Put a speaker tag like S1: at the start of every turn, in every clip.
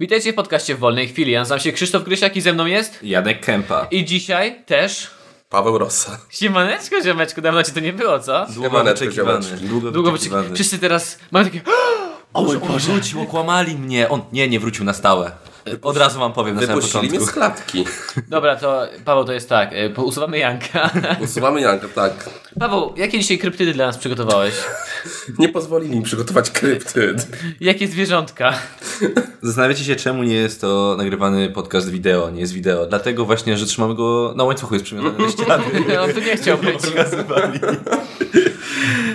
S1: Witajcie w podcaście w wolnej chwili. Ja nazywam się Krzysztof Krysiak i ze mną jest.
S2: Janek Kępa.
S1: I dzisiaj też.
S3: Paweł Rossa.
S1: Siemaneczko, ziomeczku, dawno ci to nie było, co?
S2: Długo wyczekiwany. Długo,
S1: Długo by
S2: wyczekiwany.
S1: Wszyscy teraz mają takie. O mój
S2: On
S1: Boże!
S2: wrócił, okłamali mnie. On nie, nie wrócił na stałe. Od razu wam powiem na samym
S3: Wypuścili mnie
S2: początku.
S3: z klatki.
S1: Dobra, to Paweł, to jest tak. y, po- Usuwamy Janka.
S3: Usuwamy Janka, tak.
S1: Paweł, jakie dzisiaj kryptydy dla nas przygotowałeś?
S3: Nie pozwolili mi przygotować kryptyd.
S1: Jakie zwierzątka?
S2: Zastanawiacie się, czemu nie jest to nagrywany podcast wideo, nie jest wideo. Dlatego właśnie, że trzymamy go na łańcuchu, jest przywiązany do ściany.
S1: On tu No, nie chciał być.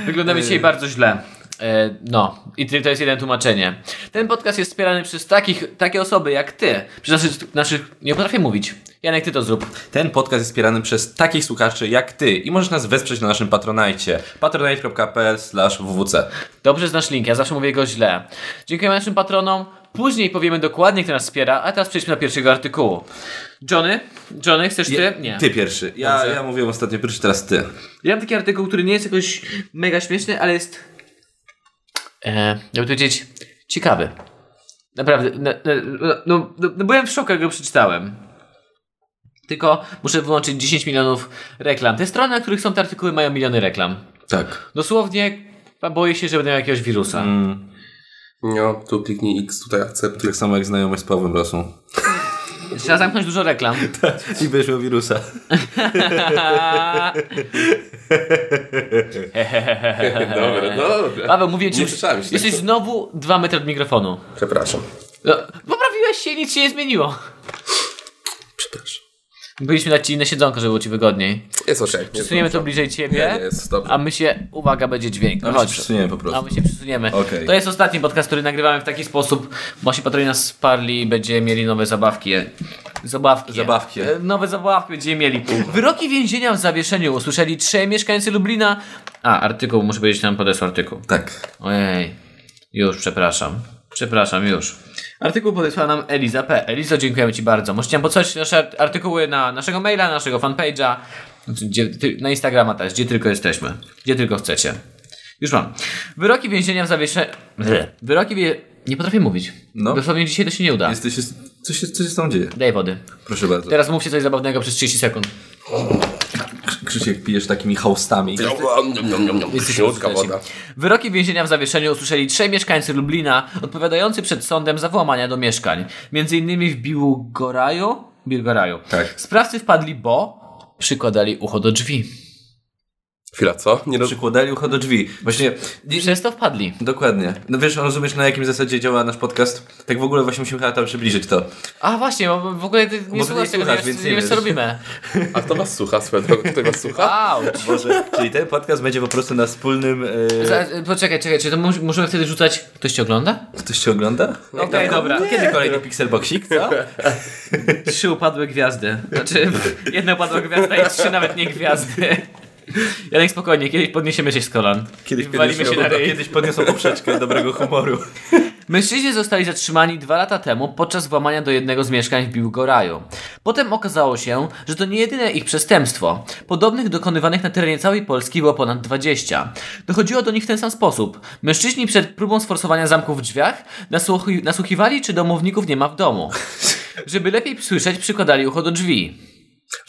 S1: Wyglądamy dzisiaj bardzo źle. E, No, i ty- to jest jeden tłumaczenie. Ten podcast jest wspierany przez takich, takie osoby jak ty. Przez naszych, naszych. Nie potrafię mówić. Janek, ty to zrób.
S2: Ten podcast jest wspierany przez takich słuchaczy jak ty i możesz nas wesprzeć na naszym patronajcie. patronite.pl wwc
S1: Dobrze znasz link, ja zawsze mówię go źle. Dziękujemy naszym patronom. Później powiemy dokładnie, kto nas wspiera, a teraz przejdźmy do pierwszego artykułu. Johnny? Johnny, chcesz ty? Nie.
S2: Ty pierwszy. Ja, ja mówiłem ostatnio pierwszy, teraz ty.
S1: Ja mam taki artykuł, który nie jest jakoś mega śmieszny, ale jest. E, jakby to powiedzieć, ciekawy. Naprawdę. No, no, no, no, no byłem w szoku, jak go przeczytałem. Tylko muszę wyłączyć 10 milionów reklam. Te strony, na których są te artykuły, mają miliony reklam.
S2: Tak.
S1: Dosłownie a boję się, że będę miał jakiegoś wirusa.
S3: No, tu kliknij X, tutaj akcept.
S2: Tak samo jak znajomość z Pawłem Rosą.
S1: Trzeba zamknąć dużo reklam.
S2: I wyszło wirusa.
S3: Dobra, dobra.
S1: Paweł, mówię ci,
S3: Nie
S1: już-
S3: słyszałem się.
S1: jesteś znowu 2 metry od mikrofonu.
S3: Przepraszam.
S1: No, poprawiłeś się i nic się nie zmieniło.
S3: Przepraszam.
S1: Byliśmy dać ci inne siedzonko, żeby było ci wygodniej.
S3: Jest okej. Okay.
S1: Przesuniemy to bliżej ciebie.
S3: Nie, nie, jest dobrze.
S1: A my się, uwaga, będzie dźwięk. No
S2: No chodź,
S1: chodź.
S2: przesuniemy po
S1: A
S2: prostu.
S1: my się przesuniemy.
S2: Okej.
S1: To jest ostatni podcast, który nagrywamy w taki sposób. Właśnie patroni nas sparli i będziemy mieli nowe zabawki. Zabawki.
S2: Zabawki.
S1: E, Nowe zabawki będziemy mieli. Wyroki więzienia w zawieszeniu usłyszeli trzej mieszkańcy Lublina. A, artykuł, muszę powiedzieć, nam podesłał artykuł.
S2: Tak.
S1: Ojej, już przepraszam. Przepraszam, już. Artykuł podesłała nam Eliza P. Elizo, dziękujemy Ci bardzo. Możecie nam podesłać nasze art- artykuły na naszego maila, naszego fanpage'a, gdzie, ty- na Instagrama też, gdzie tylko jesteśmy, gdzie tylko chcecie. Już mam. Wyroki więzienia w zawieszeniu... Wyroki wie... Nie potrafię mówić. No.
S2: No.
S1: Dosłownie dzisiaj to się nie uda.
S2: Jesteś, jest, co, się, co się z tą dzieje?
S1: Daj wody.
S2: Proszę bardzo.
S1: Teraz mówcie coś zabawnego przez 30 sekund.
S2: Krzy- Krzysiek pijesz takimi haustami.
S3: Śniutka woda.
S1: Wyroki więzienia w zawieszeniu usłyszeli trzej mieszkańcy Lublina, odpowiadający przed sądem za włamania do mieszkań. Między innymi w Biłgoraju, Biłgoraju.
S2: Tak.
S1: Sprawcy wpadli, bo przykładali ucho do drzwi.
S3: Chwila, co? Nie roz...
S2: Przykładali ucho do drzwi. Właśnie,
S1: I przez to wpadli.
S2: dokładnie. No wiesz, rozumiesz na jakim zasadzie działa nasz podcast? Tak w ogóle właśnie musimy chyba tam przybliżyć to.
S1: A właśnie, bo w ogóle ty nie
S2: nie
S1: słuchasz tego, nie
S2: słuchasz,
S1: wiesz,
S2: więc
S1: nie
S2: nie
S1: wiesz co
S2: wiesz.
S1: robimy.
S3: A kto was słucha? Swoją drogą, kto was słucha?
S1: Au!
S2: Boże, czyli ten podcast będzie po prostu na wspólnym... E...
S1: Za- Poczekaj, czekaj, czy to mu- możemy wtedy rzucać... Ktoś cię ogląda?
S2: Ktoś cię ogląda?
S1: Okej, No, dobra.
S2: Kiedy kolejny Pixelboxik, co?
S1: Trzy upadłe gwiazdy. Znaczy, jedna upadła gwiazda i trzy nawet nie gwiazdy. Janek, spokojnie, kiedyś podniesiemy się z kolan.
S2: Kiedyś,
S1: I walimy się na ryj.
S2: kiedyś podniosą poprzeczkę dobrego humoru.
S1: Mężczyźni zostali zatrzymani dwa lata temu podczas włamania do jednego z mieszkań w Biłgoraju. Potem okazało się, że to nie jedyne ich przestępstwo. Podobnych dokonywanych na terenie całej Polski było ponad 20. Dochodziło do nich w ten sam sposób. Mężczyźni przed próbą sforsowania zamków w drzwiach nasłuchi- nasłuchiwali, czy domowników nie ma w domu. Żeby lepiej słyszeć, przykładali ucho do drzwi.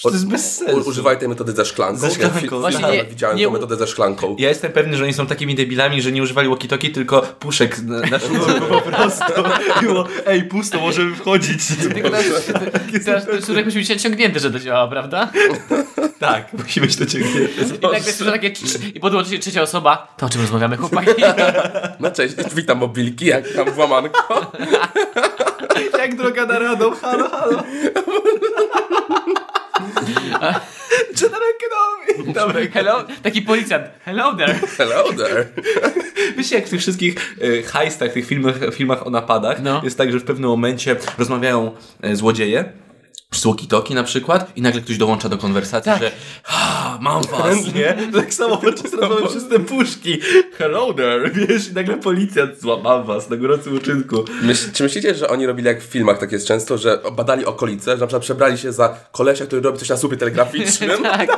S2: To jest bez sensu.
S3: U, używaj tej metody ze szklanką.
S2: Ze szklanką.
S3: Ja w-
S2: Właśnie
S3: filmach
S1: nie-
S3: widziałem
S1: nie-
S3: tą metodę ze szklanką.
S2: Ja jestem pewny, że oni są takimi debilami, że nie używali walkie tylko puszek na, na sznurku No, po prostu. Było, ej, pusto, możemy wchodzić.
S1: Tylko teraz, teraz ten sznurek musi być naciągnięty, że to działa, prawda?
S2: Tak, musi być to ciekawe.
S1: I nagle słyszę takie cz- i podłączy się trzecia osoba. To o czym rozmawiamy, chłopaki?
S3: No cześć, witam mobilki, jak tam włamanko.
S2: Jak droga na radą, halo, halo. Czy na rękę nowi? Dobra,
S1: Hello, taki policjant. Hello there.
S3: Hello there.
S2: wiecie jak w tych wszystkich e, hajstach, tych filmach, filmach o napadach,
S1: No.
S2: jest tak, że w pewnym momencie rozmawiają e, złodzieje, z walkie na przykład i nagle ktoś dołącza do konwersacji,
S1: Tak.
S2: że ha, mam was, nie? Tak samo podczas rozmowy przez te puszki. Hello there, wiesz? I nagle policjant złamał was na gorącym uczynku.
S3: Myśl, czy myślicie, że oni robili jak w filmach, tak jest często, że badali okolice, że na przykład przebrali się za kolesia, który robi coś na słupie telegraficznym
S1: Tak.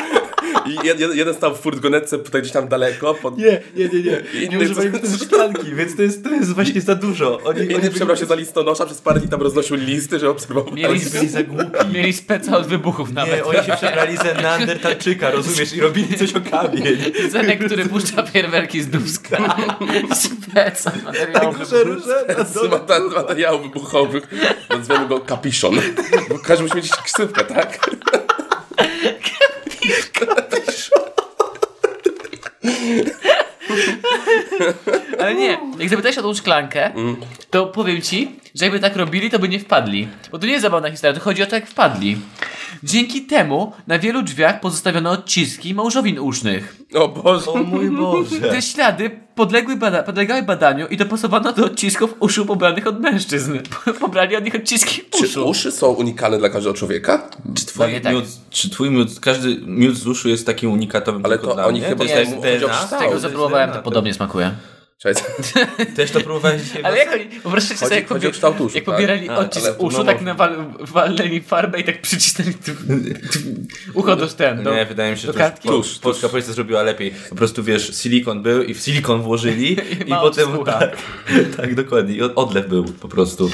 S3: I jed, jed- jeden stał w furgonetce tutaj gdzieś tam daleko. Pod...
S2: Nie, nie, nie, nie.
S3: I
S2: Nie
S3: inny-
S2: używajmy też szklanki, więc to jest, to jest właśnie za dużo. Oni,
S3: Inny przebrał się za listonosza, przez parę dni tam roznosił listy, że obserwował.
S1: Mieli,
S2: Oni byli za głupi.
S1: mieli speca od wybuchów nawet.
S2: Nie, oni się przebrali za Neandertalczyka, rozumiesz? I robili coś o kamień.
S1: Zenek, który puszcza pierwerki z dubska.
S2: Tak.
S1: Speca
S3: Tak,
S1: materiału.
S2: Róże, róże, na
S3: z
S2: dole.
S3: mata- z materiałów wybuchowych. Nazwiemy go kapiszon. Bo każdy musi mieć ksywkę, tak?
S1: Ale nie, jak zapytałeś o tą szklankę,
S3: Mm.
S1: to powiem ci, że jakby tak robili, to by nie wpadli. Bo to nie jest zabawna historia, to chodzi o to, jak wpadli. Dzięki temu na wielu drzwiach pozostawiono odciski małżowin usznych.
S3: O Boże.
S2: O mój
S3: Tak.
S2: Boże.
S1: Te ślady podległy bada podlegały badaniu i dopasowano do odcisków uszu pobranych od mężczyzn. Po- Pobrali od nich odciski
S3: Czy
S1: uszu.
S3: uszy są unikalne dla każdego człowieka?
S2: Czy twój,
S1: tak.
S2: miód, czy twój miód, każdy miód z uszu jest takim unikatowym
S3: Ale
S2: tylko
S3: to
S2: dla
S3: oni
S2: mnie?
S3: chyba tak
S2: to
S1: nie,
S2: jest
S1: chodzi
S3: o
S2: DNA?
S3: kształt.
S1: Tego
S3: jest
S1: zapróbowałem,
S2: DNA,
S1: to podobnie smakuje.
S3: Cześć.
S2: Też to próbowałem dzisiaj.
S1: Ale
S2: w
S1: jak oni, wyobraźcie sobie,
S3: Chodzi-
S1: jak,
S3: chodzi o
S1: pobie-
S3: kształt uszu,
S1: jak
S3: tak?
S1: pobierali
S2: A,
S1: odcisk
S3: ale to
S1: uszu,
S3: no
S1: tak
S3: może.
S1: nawal- walnęli farbę i tak przycisnęli tu- tu- ucho do ten, do,
S2: Nie, wydaje mi się,
S1: do
S2: że to już
S1: kartki.
S2: po,
S3: Tuż,
S2: polska policja zrobiła lepiej. Po prostu wiesz, silikon był i w silikon włożyli i,
S1: mało
S2: potem.
S1: skóra.
S2: Tak, tak, dokładnie. I od- odlew był po prostu.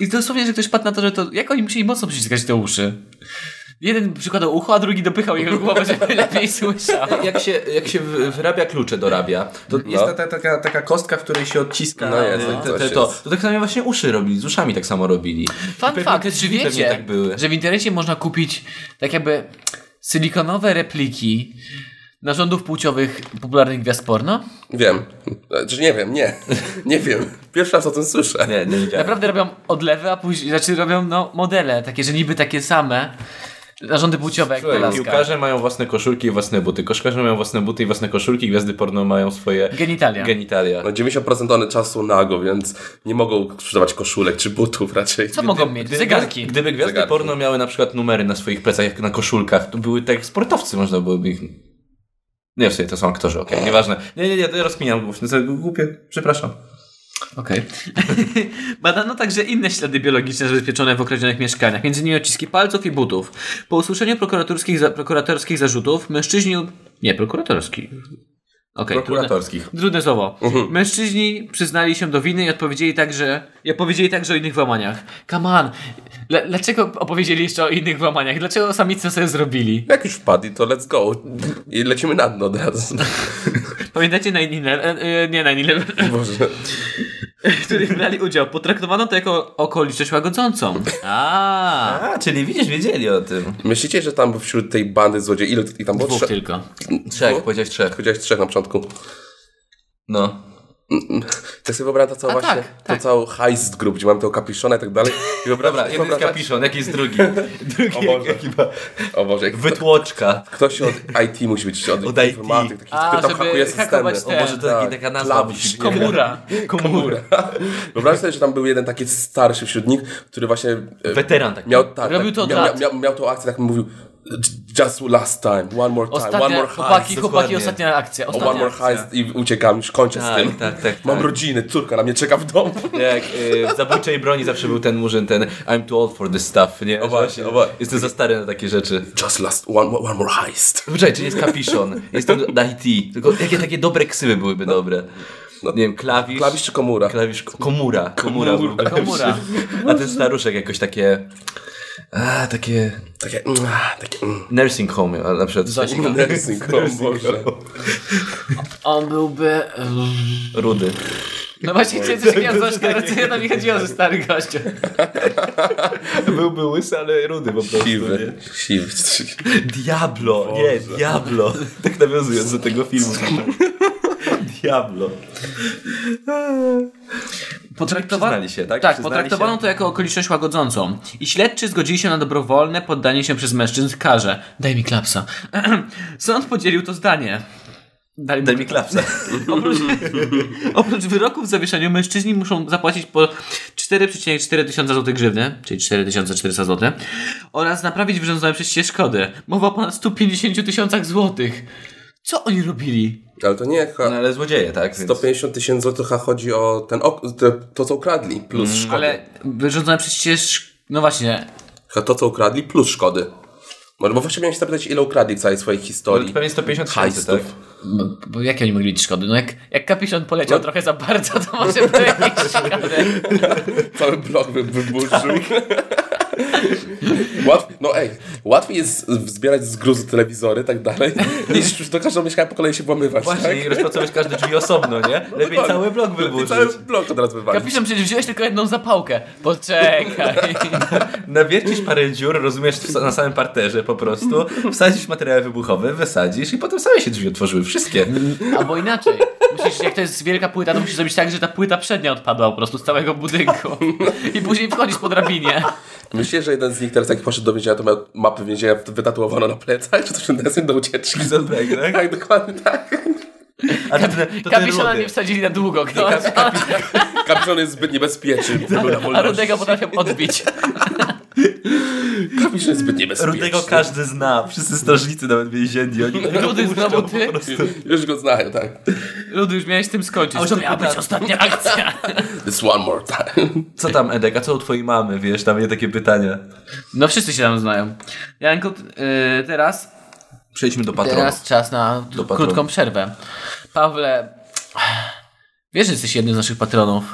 S1: I dosłownie, że ktoś padł na to, że to. Jak oni musieli mocno przyciskać te uszy? Jeden przykładał ucho, a drugi dopychał jego głowę, żeby lepiej słyszał.
S2: Jak się, jak się wy- wyrabia klucze, dorabia, to jest ta, ta, taka, taka kostka, w której się odciska
S3: No jest,
S2: e,
S3: tak
S2: te,
S3: coś
S2: te, to. to tak samo właśnie uszy robili, z uszami tak samo robili.
S1: Fun
S2: Pewnie
S1: fact,
S2: te
S1: czy
S2: drzwi
S1: wiecie,
S2: pewnie tak były.
S1: że w internecie można kupić tak jakby silikonowe repliki narządów płciowych popularnych gwiazd porno?
S3: Wiem. Znaczy nie wiem, nie. Nie wiem. Pierwszy raz o tym słyszę.
S2: Nie, nie widziałem.
S1: Naprawdę robią odlewy, a później, znaczy robią no, modele, takie, że niby takie same narządy płciowe jak
S2: Słuchaj,
S1: Polaska.
S2: Piłkarze mają własne koszulki i własne buty. Koszkarze mają własne buty i własne koszulki. Gwiazdy porno mają swoje
S1: Genitalia.
S2: genitalia.
S3: No 90% one czasu nago, więc nie mogą sprzedawać koszulek czy butów raczej.
S1: Co mogą mieć? Zegarki.
S2: Gdyby gwiazdy
S3: Zegarki.
S2: porno miały na przykład numery na swoich plecach, jak na koszulkach, to były tak jak sportowcy, można byłoby ich... Nie, w sobie to są aktorzy, okej, nieważne. Nie, nie, nie, to ja rozkminiam głównie, to głupie, przepraszam.
S1: Okej. Badano także inne ślady biologiczne zabezpieczone w określonych mieszkaniach, m.in. odciski palców i butów. Po usłyszeniu prokuratorskich, za, prokuratorskich zarzutów mężczyźni... Nie, prokuratorskich. Okej, trudne,
S2: Prokuratorskich.
S1: trudne słowo. Mężczyźni przyznali się do winy i odpowiedzieli także, i opowiedzieli także o innych włamaniach. Come on! Dla- dlaczego opowiedzieli jeszcze o innych włamaniach? Dlaczego samicy sobie zrobili?
S3: Jak już wpadli, to let's go. I lecimy na dno od razu.
S1: Pamiętacie na innym... Nie, na innym...
S3: Boże.
S1: w których brali udział. Potraktowano to jako okoliczność łagodzącą. A.
S2: A, czyli widzisz, wiedzieli o tym.
S3: Myślicie, że tam wśród tej bandy złodziei, ile ich tam było?
S1: Dwóch
S3: Trze-
S1: tylko.
S2: Trzech, powiedziałeś trzech.
S3: Powiedziałeś trzech na początku.
S2: No.
S3: Tak sobie wyobrażam to całą
S1: A
S3: właśnie,
S1: tak,
S3: to cały heist group, gdzie mamy tego kapiszona i tak dalej. I wyobrażam,
S2: Dobra, jeden jest
S3: wyobrażam-
S2: kapiszon, jaki jest drugi?
S3: O
S2: drugi
S3: Boże.
S2: jak- chyba...
S3: O Boże, jak
S2: Wytłoczka.
S3: ktoś od IT musi być, od,
S2: Od
S3: od
S2: IT.
S3: informatyk, taki,
S1: A,
S3: który tam
S1: żeby
S3: hakuje
S1: hakować
S3: systemy.
S1: te-
S2: Może to
S3: Tak,
S2: taki taka nazwa
S3: klawisz,
S2: musi być.
S1: Komura.
S2: Komura.
S3: Wyobraź sobie, że tam był jeden taki starszy wśród nich, który właśnie e,
S2: Weteran tak.
S3: miał tak,
S1: Robił
S3: tak,
S1: to od
S3: miał,
S1: lat.
S3: miał, miał, miał tą akcję, tak mówił just last time, one more time, one
S1: Ostatnia,
S3: more
S1: chłopaki, chłopaki,
S3: heist.
S2: dokładnie.
S1: ostatnia akcja.
S3: O, one
S1: Ostatnia
S3: more
S1: akcja.
S3: heist i uciekam, już kończę z
S2: Tak,
S3: tym.
S2: tak, tak,
S3: Mam
S2: tak.
S3: rodziny, córka na mnie czeka w domu.
S2: Jak y, w zabójczej broni zawsze był ten murzyn, ten I'm too old for this stuff, nie?
S3: O właśnie, o właśnie.
S2: Jestem za stary na takie rzeczy.
S3: Just last, one, one more heist.
S2: Zwyczaj, czy jest kapiszon? Jestem na IT. Tylko jakie takie dobre ksywy byłyby dobre? nie wiem, klawisz.
S3: No. Klawisz czy komura?
S2: klawisz komura. Komura. byłby
S1: Komura.
S2: lepszy. A ten staruszek jakoś takie... A, takie...
S3: Takie, mm, ah, takie, mm.
S2: Nursing home, a na przykład...
S1: Zosia.
S3: Nursing home, Boże.
S1: On byłby...
S2: Rudy.
S1: No właśnie, cię coś gwiazdeczka, ale to ja tam nie chodziło, że stary gościu.
S2: Byłby łysy, ale rudy po prostu.
S3: Siwy, siwy.
S2: Diablo, nie, Diablo. Tak nawiązując do tego filmu. Diablo.
S1: Potraktowano,
S2: Przyznali się, tak?
S1: tak
S2: Przyznali
S1: potraktowano
S2: się.
S1: to jako okoliczność łagodzącą. I śledczy zgodzili się na dobrowolne poddanie się przez mężczyzn karze. Daj mi klapsa. Sąd podzielił to zdanie. Daj
S2: Daj mi klapsa.
S1: Oprócz, oprócz wyroków w zawieszeniu mężczyźni muszą zapłacić po 4,4 tysiąca złotych grzywny, czyli 4400 zł, oraz naprawić wyrządzone przez siebie szkody. Mowa o ponad 150 tysiącach złotych. Co oni robili?
S3: Ale to nie, ha,
S2: No ale złodzieje, tak? Więc...
S3: 150 tysięcy złotych ha, chodzi o ten ok- te, to, co ukradli, plus
S1: Mm,
S3: szkody.
S1: Ale wyrządzone przez siebie sz... No właśnie,
S3: Ha, to, co ukradli, plus szkody. No bo właśnie miałem się zapytać, ile ukradli w całej swojej
S1: No
S3: historii.
S2: Pewnie 150 tysięcy, tak?
S3: Hajstów.
S1: Bo, bo jakie oni mogli mieć szkody? No jak, jak kapiszon poleciał trochę za bardzo, to może to jakieś szkody.
S3: Cały blok by wyburzył.
S2: Tak.
S3: Łatw... No ej, łatwiej jest zbierać z gruzu telewizory i tak dalej, niż do każdego mieszkania po kolei się włamywać,
S2: Właśnie,
S3: tak?
S2: i rozpracować każde drzwi osobno, nie? No Lepiej
S3: dokładnie.
S2: cały blok
S3: I
S2: wyburzyć.
S3: cały blok od razu wywalić.
S1: Kapiszon, przecież wziąłeś tylko jedną zapałkę. Poczekaj.
S2: Nawiercisz parę dziur, rozumiesz, w- na samym parterze po prostu, wsadzisz materiały wybuchowe, wysadzisz i potem same się drzwi otworzyły, wszystkie.
S1: Albo inaczej. Musisz, jak to jest wielka płyta, to musisz zrobić tak, że ta płyta przednia odpadła po prostu z całego budynku. I później wchodzisz po drabinie.
S3: Myślisz, że jeden z nich teraz jak poszedł do więzienia, to miał mapę więzienia wytatuowaną na plecach, czy to się da do ucieczki?
S2: Prison Break, tak?
S3: Tak, dokładnie tak.
S2: A to, to te
S1: Kapiszona
S2: rudy.
S1: nie wsadzili na długo. Kto?
S3: Kapiszon jest zbyt niebezpieczny, gdyby był na
S1: A
S3: wolności.
S1: Rudego potrafią odbić.
S3: Kapiszon jest zbyt niebezpieczny.
S2: Rudego każdy zna, wszyscy strażnicy, nawet więzienni. Oni
S1: Rudy znowu ty?
S3: Już go znają, tak.
S1: Rudy, już miałeś z tym skończyć.
S2: A
S1: To
S2: już
S1: miała
S2: tylko
S1: być
S2: tak.
S1: ostatnia akcja.
S3: This one more time.
S2: Co tam, Edek, a co u twojej mamy, wiesz, tam nie takie pytania.
S1: No wszyscy się tam znają. Janku, yy, teraz
S2: Przejdźmy do patronów.
S1: Teraz czas na
S2: Do patronów.
S1: krótką przerwę. Pawle, wiesz, że jesteś jednym z naszych patronów.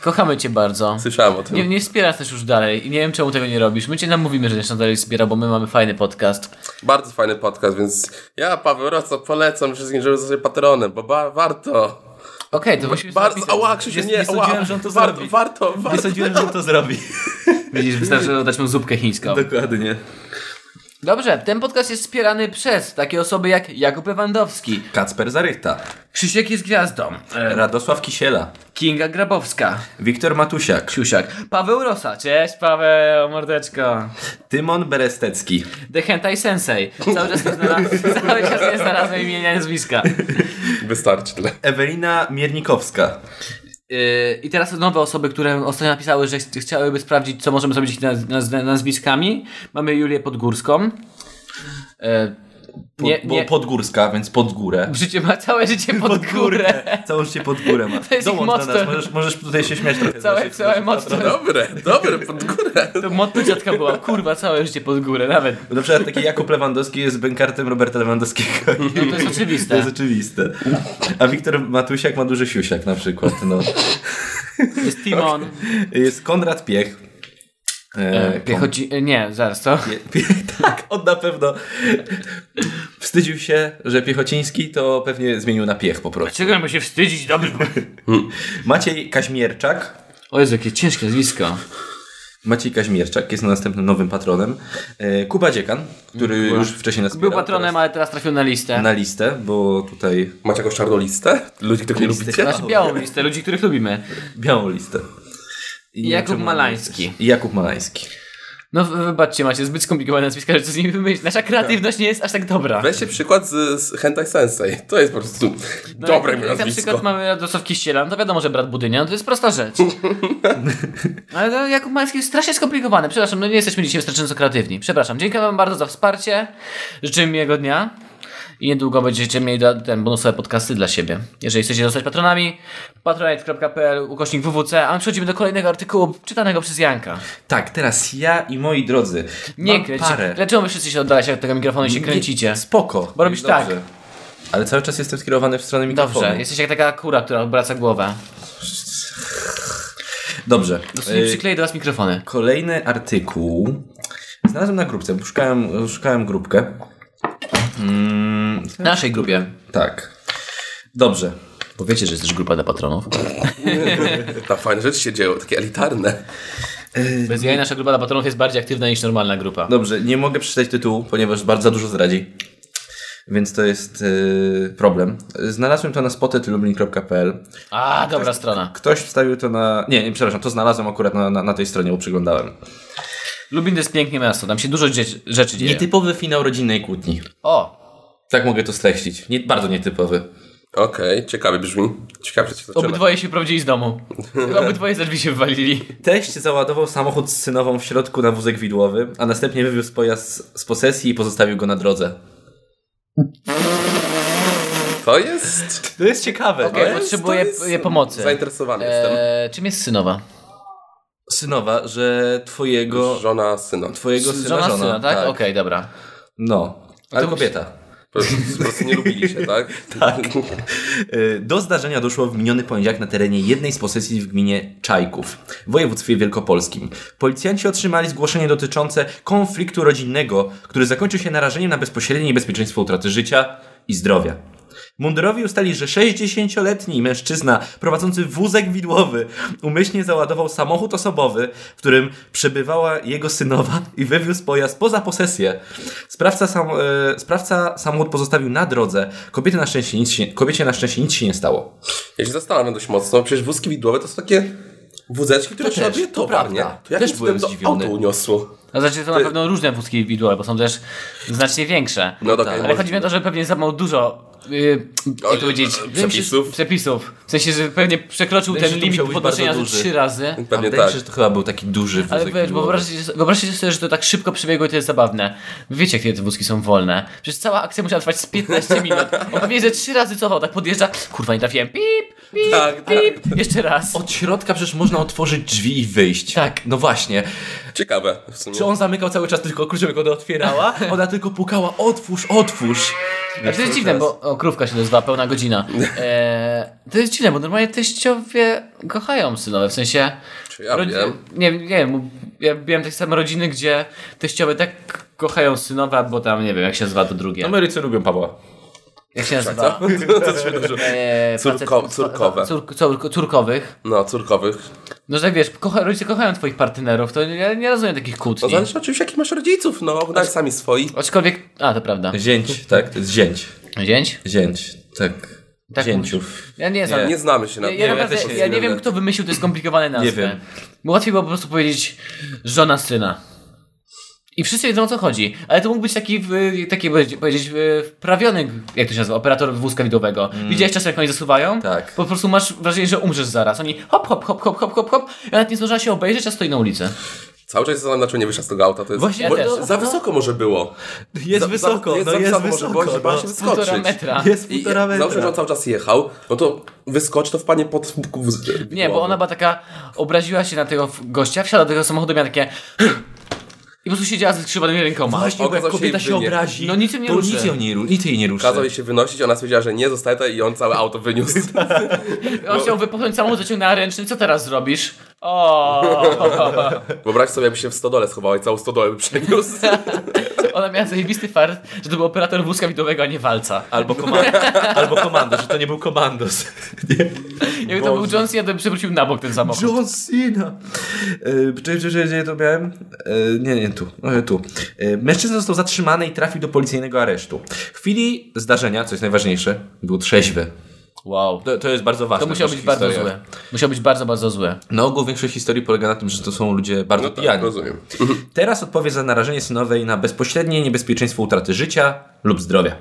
S1: Kochamy cię bardzo.
S3: Słyszałem o tym.
S1: Nie, nie wspierasz też już dalej i nie wiem, czemu tego nie robisz. My cię namówimy, że jeszcze dalej wspiera, bo my mamy fajny podcast.
S3: Bardzo fajny podcast, więc ja, Paweł Roco, polecam wszystkim, żeby zostać patronem, bo ba- warto.
S1: Okej, to musimy
S3: Bardzo,
S1: napisać.
S3: ała, Krzysiu,
S2: Nie-
S3: nie,
S2: nie sądziłem,
S3: ała.
S2: że on to
S3: warto,
S2: zrobi.
S3: warto,
S2: Nie
S3: warto.
S2: sądziłem, że to zrobi.
S1: Widzisz, wystarczy dać mu zupkę chińską.
S2: Dokładnie.
S1: Dobrze, ten podcast jest wspierany przez takie osoby jak Jakub Lewandowski,
S2: Kacper Zarychta,
S1: Krzysiek jest gwiazdą, e,
S2: Radosław Kisiela,
S1: Kinga Grabowska,
S2: Wiktor Matusiak,
S1: Siusiak, Paweł Rosa. Cześć Paweł, mordeczko.
S2: Tymon Berestecki,
S1: The Hentai Sensei. Cały czas nie znalazłem, cały czas nie znalazłem imienia i nazwiska.
S3: Wystarczy tyle.
S2: Ewelina Miernikowska,
S1: Yy, I teraz nowe osoby, które ostatnio napisały, że ch- chciałyby sprawdzić, co możemy zrobić z naz- naz- nazwiskami. Mamy Julię Podgórską. Yy,
S2: pod,
S1: nie,
S2: bo
S1: nie.
S2: Podgórska, więc pod górę.
S1: Życie ma całe życie pod,
S2: Pod
S1: górę.
S2: Całą się pod górę ma.
S1: To jest ich
S2: Dołącz do
S1: motto.
S2: nas, możesz, możesz tutaj się śmiać trochę. z
S1: Całe,
S2: naszych-
S1: całe mocno.
S3: Dobre, dobre, pod górę.
S1: To motto dziadka była, kurwa, całe życie pod górę, nawet.
S2: Bo Na przykład taki Jakub Lewandowski jest bękartem Roberta Lewandowskiego.
S1: No, to jest
S2: To jest
S1: oczywiste.
S2: oczywiste. A Wiktor Matusiak ma duży siusiak na przykład. No.
S1: Jest Timon.
S2: Jest Konrad Piech. E,
S1: Piechoci... Nie, zaraz, co?
S2: Pie- pie- tak, on na pewno wstydził się, że Piechociński to pewnie zmienił na piech po prostu.
S1: Czego mamy się wstydzić, dobry?
S2: Maciej Kaźmierczak.
S1: O Jezu, jakie ciężkie nazwisko.
S2: Maciej Kaźmierczak jest następnym nowym patronem. E, Kuba Dziekan, który już wcześniej nas
S1: Był
S2: wspierał,
S1: patronem, ale teraz trafił na listę.
S2: teraz Na listę, bo tutaj
S3: Macie jakąś czarną listę? Ludzi, których nie lubicie?
S1: Znaczy białą listę ludzi, których lubimy.
S2: białą listę. I nie
S1: Jakub
S2: wiem, czemu
S1: Malański.
S2: mamy- I Jakub Malański.
S1: No wy- wybaczcie, macie zbyt skomplikowane nazwiska, że coś z nimi wymyślić. Nasza kreatywność nie jest aż tak dobra.
S3: Weźcie przykład z, z Hentai Sensei. To jest po prostu
S1: No,
S3: dobre
S1: jak-
S3: mi
S1: jak Na
S3: nazwisko.
S1: przykład mamy Radosław Kiściela, no to wiadomo, że brat Budynia, no to jest prosta rzecz. Ale no, Jakub Malski jest strasznie skomplikowany. Przepraszam, no nie jesteśmy dzisiaj wystarczająco kreatywni. Przepraszam, dziękuję wam bardzo za wsparcie. Życzę miłego dnia. I niedługo będziecie mieli do- ten bonusowe podcasty dla siebie. Jeżeli chcecie zostać patronami, patronite.pl, ukośnik WWC, a my przechodzimy do kolejnego artykułu czytanego przez Janka.
S2: Tak, teraz ja i moi drodzy.
S1: Nie
S2: mam parę.
S1: kręcicie. Dlaczego wy wszyscy się oddalacie od tego mikrofonu i się kręcicie?
S2: Nie, Spoko.
S1: Bo robisz tak.
S2: Ale cały czas jestem skierowany w stronę mikrofonu.
S1: Dobrze, jesteś jak taka kura, która odwraca głowę.
S2: Dobrze.
S1: Nie
S2: Y,
S1: przykleję do was mikrofony.
S2: Kolejny artykuł. Znalazłem na grupce, bo szukałem, szukałem grupkę. Mm,
S1: W naszej grupie.
S2: tak. Dobrze.
S1: Bo wiecie, że jest też grupa dla patronów.
S3: Tam fajne rzeczy się dzieją, takie elitarne.
S1: Bez jaj nasza grupa dla patronów jest bardziej aktywna niż normalna grupa.
S2: Dobrze, nie mogę przeczytać tytułu, ponieważ bardzo dużo zdradzi. Więc to jest y, problem. Znalazłem to na spotetlublin.pl.
S1: A, dobra strona.
S2: Ktoś wstawił to na... Nie, nie, przepraszam, to znalazłem akurat na, na, na tej stronie, bo przeglądałem.
S1: Lubin to jest piękne miasto, tam się dużo dzie- rzeczy dzieje.
S2: Nietypowy finał rodzinnej kłótni.
S1: O,
S2: Tak mogę to streścić. Nie, bardzo nietypowy.
S3: Okej, ciekawie brzmi. Ciekawe, że się zaczyna.
S1: obydwoje się prowadzili z domu. Obydwoje ze drzwi się wywalili.
S2: Teść załadował samochód z synową w środku na wózek widłowy, a następnie wywiózł pojazd z posesji i pozostawił go na drodze.
S3: To jest...
S2: To jest ciekawe.
S1: Okej.
S2: nie?
S3: to
S1: potrzebuję
S3: jest-
S1: je pomocy.
S3: Zainteresowany jestem.
S1: Eee, czym jest synowa?
S2: Synowa, że twojego,
S3: Żona syna.
S1: Eee.
S2: twojego syna
S1: Żona
S2: żona. tak.
S1: syna, tak? Okej, dobra.
S2: No, ale kobieta.
S3: Po prostu, po prostu nie lubili się, tak?
S2: Tak. Y, Do zdarzenia doszło w miniony poniedziałek na terenie jednej z posesji w gminie Czajków w województwie wielkopolskim. Policjanci otrzymali zgłoszenie dotyczące konfliktu rodzinnego, który zakończył się narażeniem na bezpośrednie niebezpieczeństwo utraty życia i zdrowia. Mundurowi ustali, że 60-letni mężczyzna prowadzący wózek widłowy umyślnie załadował samochód osobowy, w którym przebywała jego synowa i wywiózł pojazd poza posesję. Sprawca, sam, e, sprawca samochód pozostawił na drodze. Kobiety na szczęście nic się, kobiecie na szczęście nic się nie stało.
S3: Ja się zastanawiam no dość mocno, przecież wózki widłowe to są takie wózeczki, które
S2: To
S3: trzeba
S2: też,
S3: bije
S2: to
S3: towar,
S2: prawda.
S3: nie? To jakim
S2: Też byłem
S3: cudem to
S2: zdziwiony.
S3: auto uniosło?
S1: A znaczy to na pewno różne wózki widłowe, bo są też znacznie większe.
S3: No tak,
S1: Ale chodzi mi o to, że pewnie za mało dużo yy,
S3: Oj,
S1: jak to powiedzieć,
S3: przepisów?
S1: przepisów. W sensie, że pewnie przekroczył
S2: Wydaje
S1: ten
S2: się, że to
S1: limit
S2: musiał być
S1: podnoszenia
S2: bardzo
S1: ze
S2: duży.
S1: trzy razy.
S3: Pewnie
S2: Wydaje mi
S3: tak.
S2: się, że to chyba był taki duży wózek
S1: Ale wiesz, bo
S2: widłowy.
S1: wyobraźcie, wyobraźcie sobie, że to tak szybko przebiegło i to jest zabawne. Wiecie, kiedy te wózki są wolne. Przecież cała akcja musiała trwać z 15 minut. On pewnie ze trzy razy cofał, tak podjeżdża, kurwa nie trafiłem, pip, pip,
S3: Tak,
S1: pip, jeszcze raz.
S2: Od środka przecież można otworzyć drzwi i wyjść.
S1: Tak.
S2: No właśnie.
S3: Ciekawe w sumie.
S2: Czy on zamykał cały czas tylko kluczem, jak ona otwierała? Ona tylko pukała, otwórz, otwórz.
S1: A to jest dziwne, bo o, krówka się nazywa, pełna godzina. Eee, to jest dziwne, bo normalnie teściowie kochają synowe, w sensie...
S3: Czy ja wiem?
S1: Nie, nie wiem, ja miałem takie same rodziny, gdzie teściowe tak kochają synowa, bo tam, nie wiem, jak się nazywa to
S3: No
S1: drugie.
S2: Ameryce lubią Pawła.
S1: Jak się nazywa?
S3: to się wydarzyło?
S1: Eee, facet-
S3: Córko- córkowe.
S1: Cór, cór, córkowych.
S3: No, córkowych.
S1: No że wiesz, kocha, rodzice kochają twoich partnerów, to ja nie rozumiem takich
S3: No
S1: kłótni.
S3: zależy oczywiście jakich masz rodziców, no
S2: Znaczy-
S3: oglądasz sami swoich.
S1: Aczkolwiek, a to prawda.
S2: Zięć, tak, to jest zięć.
S1: Zięć?
S2: Zięć, tak.
S1: Tak
S2: Zięciów.
S1: Ja nie znam.
S2: Nie.
S1: Nie,
S3: Nie znamy się na
S1: ja,
S3: tym.
S1: ja, naprawdę,
S2: też No, nie
S1: ja,
S2: wiem,
S1: nie wiem,
S2: tak.
S1: kto wymyślił te skomplikowane nazwy.
S2: Nie wiem.
S1: Bo łatwiej było po prostu powiedzieć żona syna. I wszyscy wiedzą o co chodzi. Ale to mógł być taki, w- taki powiedz- powiedzieć, w- wprawiony, jak to się nazywa, operator wózka widowego. Widziałeś czasem, jak oni zasuwają?
S2: Mm. Tak.
S1: Po prostu masz wrażenie, że umrzesz zaraz. Oni hop, hop, hop, hop, hop, hop, hop. Ja nawet nie zdążyła się obejrzeć, a stoi na ulicy.
S3: Cały czas się zastanawiam, dlaczego nie wyszła z tego auta. To jest...
S2: Właśnie ja
S3: bo,
S1: też.
S3: no, Za wysoko może było.
S2: Jest
S3: za,
S2: wysoko, no
S3: za, za
S2: jest
S3: wysoko może było,
S2: wysoko.
S3: że bała się
S2: no.
S3: wyskoczyć.
S1: Półtora metra.
S2: Jest
S3: I
S2: półtora
S3: załóżmy, że
S2: metra.
S3: on cały czas jechał, no to wyskocz, to wpadnie pod...
S1: Nie, bo ona była taka, obraziła się na tego f- gościa, wsiada do tego samochodu, miała takie i po prostu siedziała ze skrzywanymi rękoma.
S2: Właśnie, bo jak
S3: Okazał się
S2: kobieta
S3: jej
S2: się
S3: wynik.
S2: obrazi,
S1: No nic im nie
S2: to
S1: ruszy.
S2: nic ją nie, ru- nic jej nie ruszy.
S3: Kazał jej się wynosić, ona stwierdziła, że nie, zostaje to i on całe auto wyniósł.
S1: On
S2: No.
S1: chciał wypchnąć samochód, zaciągnęła ręczny, co teraz zrobisz? O,
S3: Wyobraź sobie, jakby się w stodole schowała i całą stodołę by przeniósł.
S1: Ona miała zajebisty fart, że to był operator wózka widowego, a nie walca.
S2: Albo, komando, albo komandos, że to nie był komandos. Nie.
S1: Jakby to był John Cena, to by przewrócił na bok ten samochód.
S2: John Cena. Yy, Czy czy- czy- gdzie to miałem? Yy, Nie, nie, tu. Yy, tu. Yy, Mężczyzna został zatrzymany i trafił do policyjnego aresztu. W chwili zdarzenia, co jest najważniejsze, był trzeźwy.
S1: Wow.
S2: To, to jest bardzo ważne.
S1: To musiało
S2: w
S1: być
S2: naszych
S1: bardzo
S2: historiach.
S1: złe. Musiało być bardzo, bardzo złe.
S2: Na ogół No, większość historii polega na tym, że to są ludzie bardzo
S3: No tak,
S2: pijani.
S3: rozumiem.
S2: Teraz odpowie za narażenie synowej na bezpośrednie niebezpieczeństwo utraty życia lub zdrowia.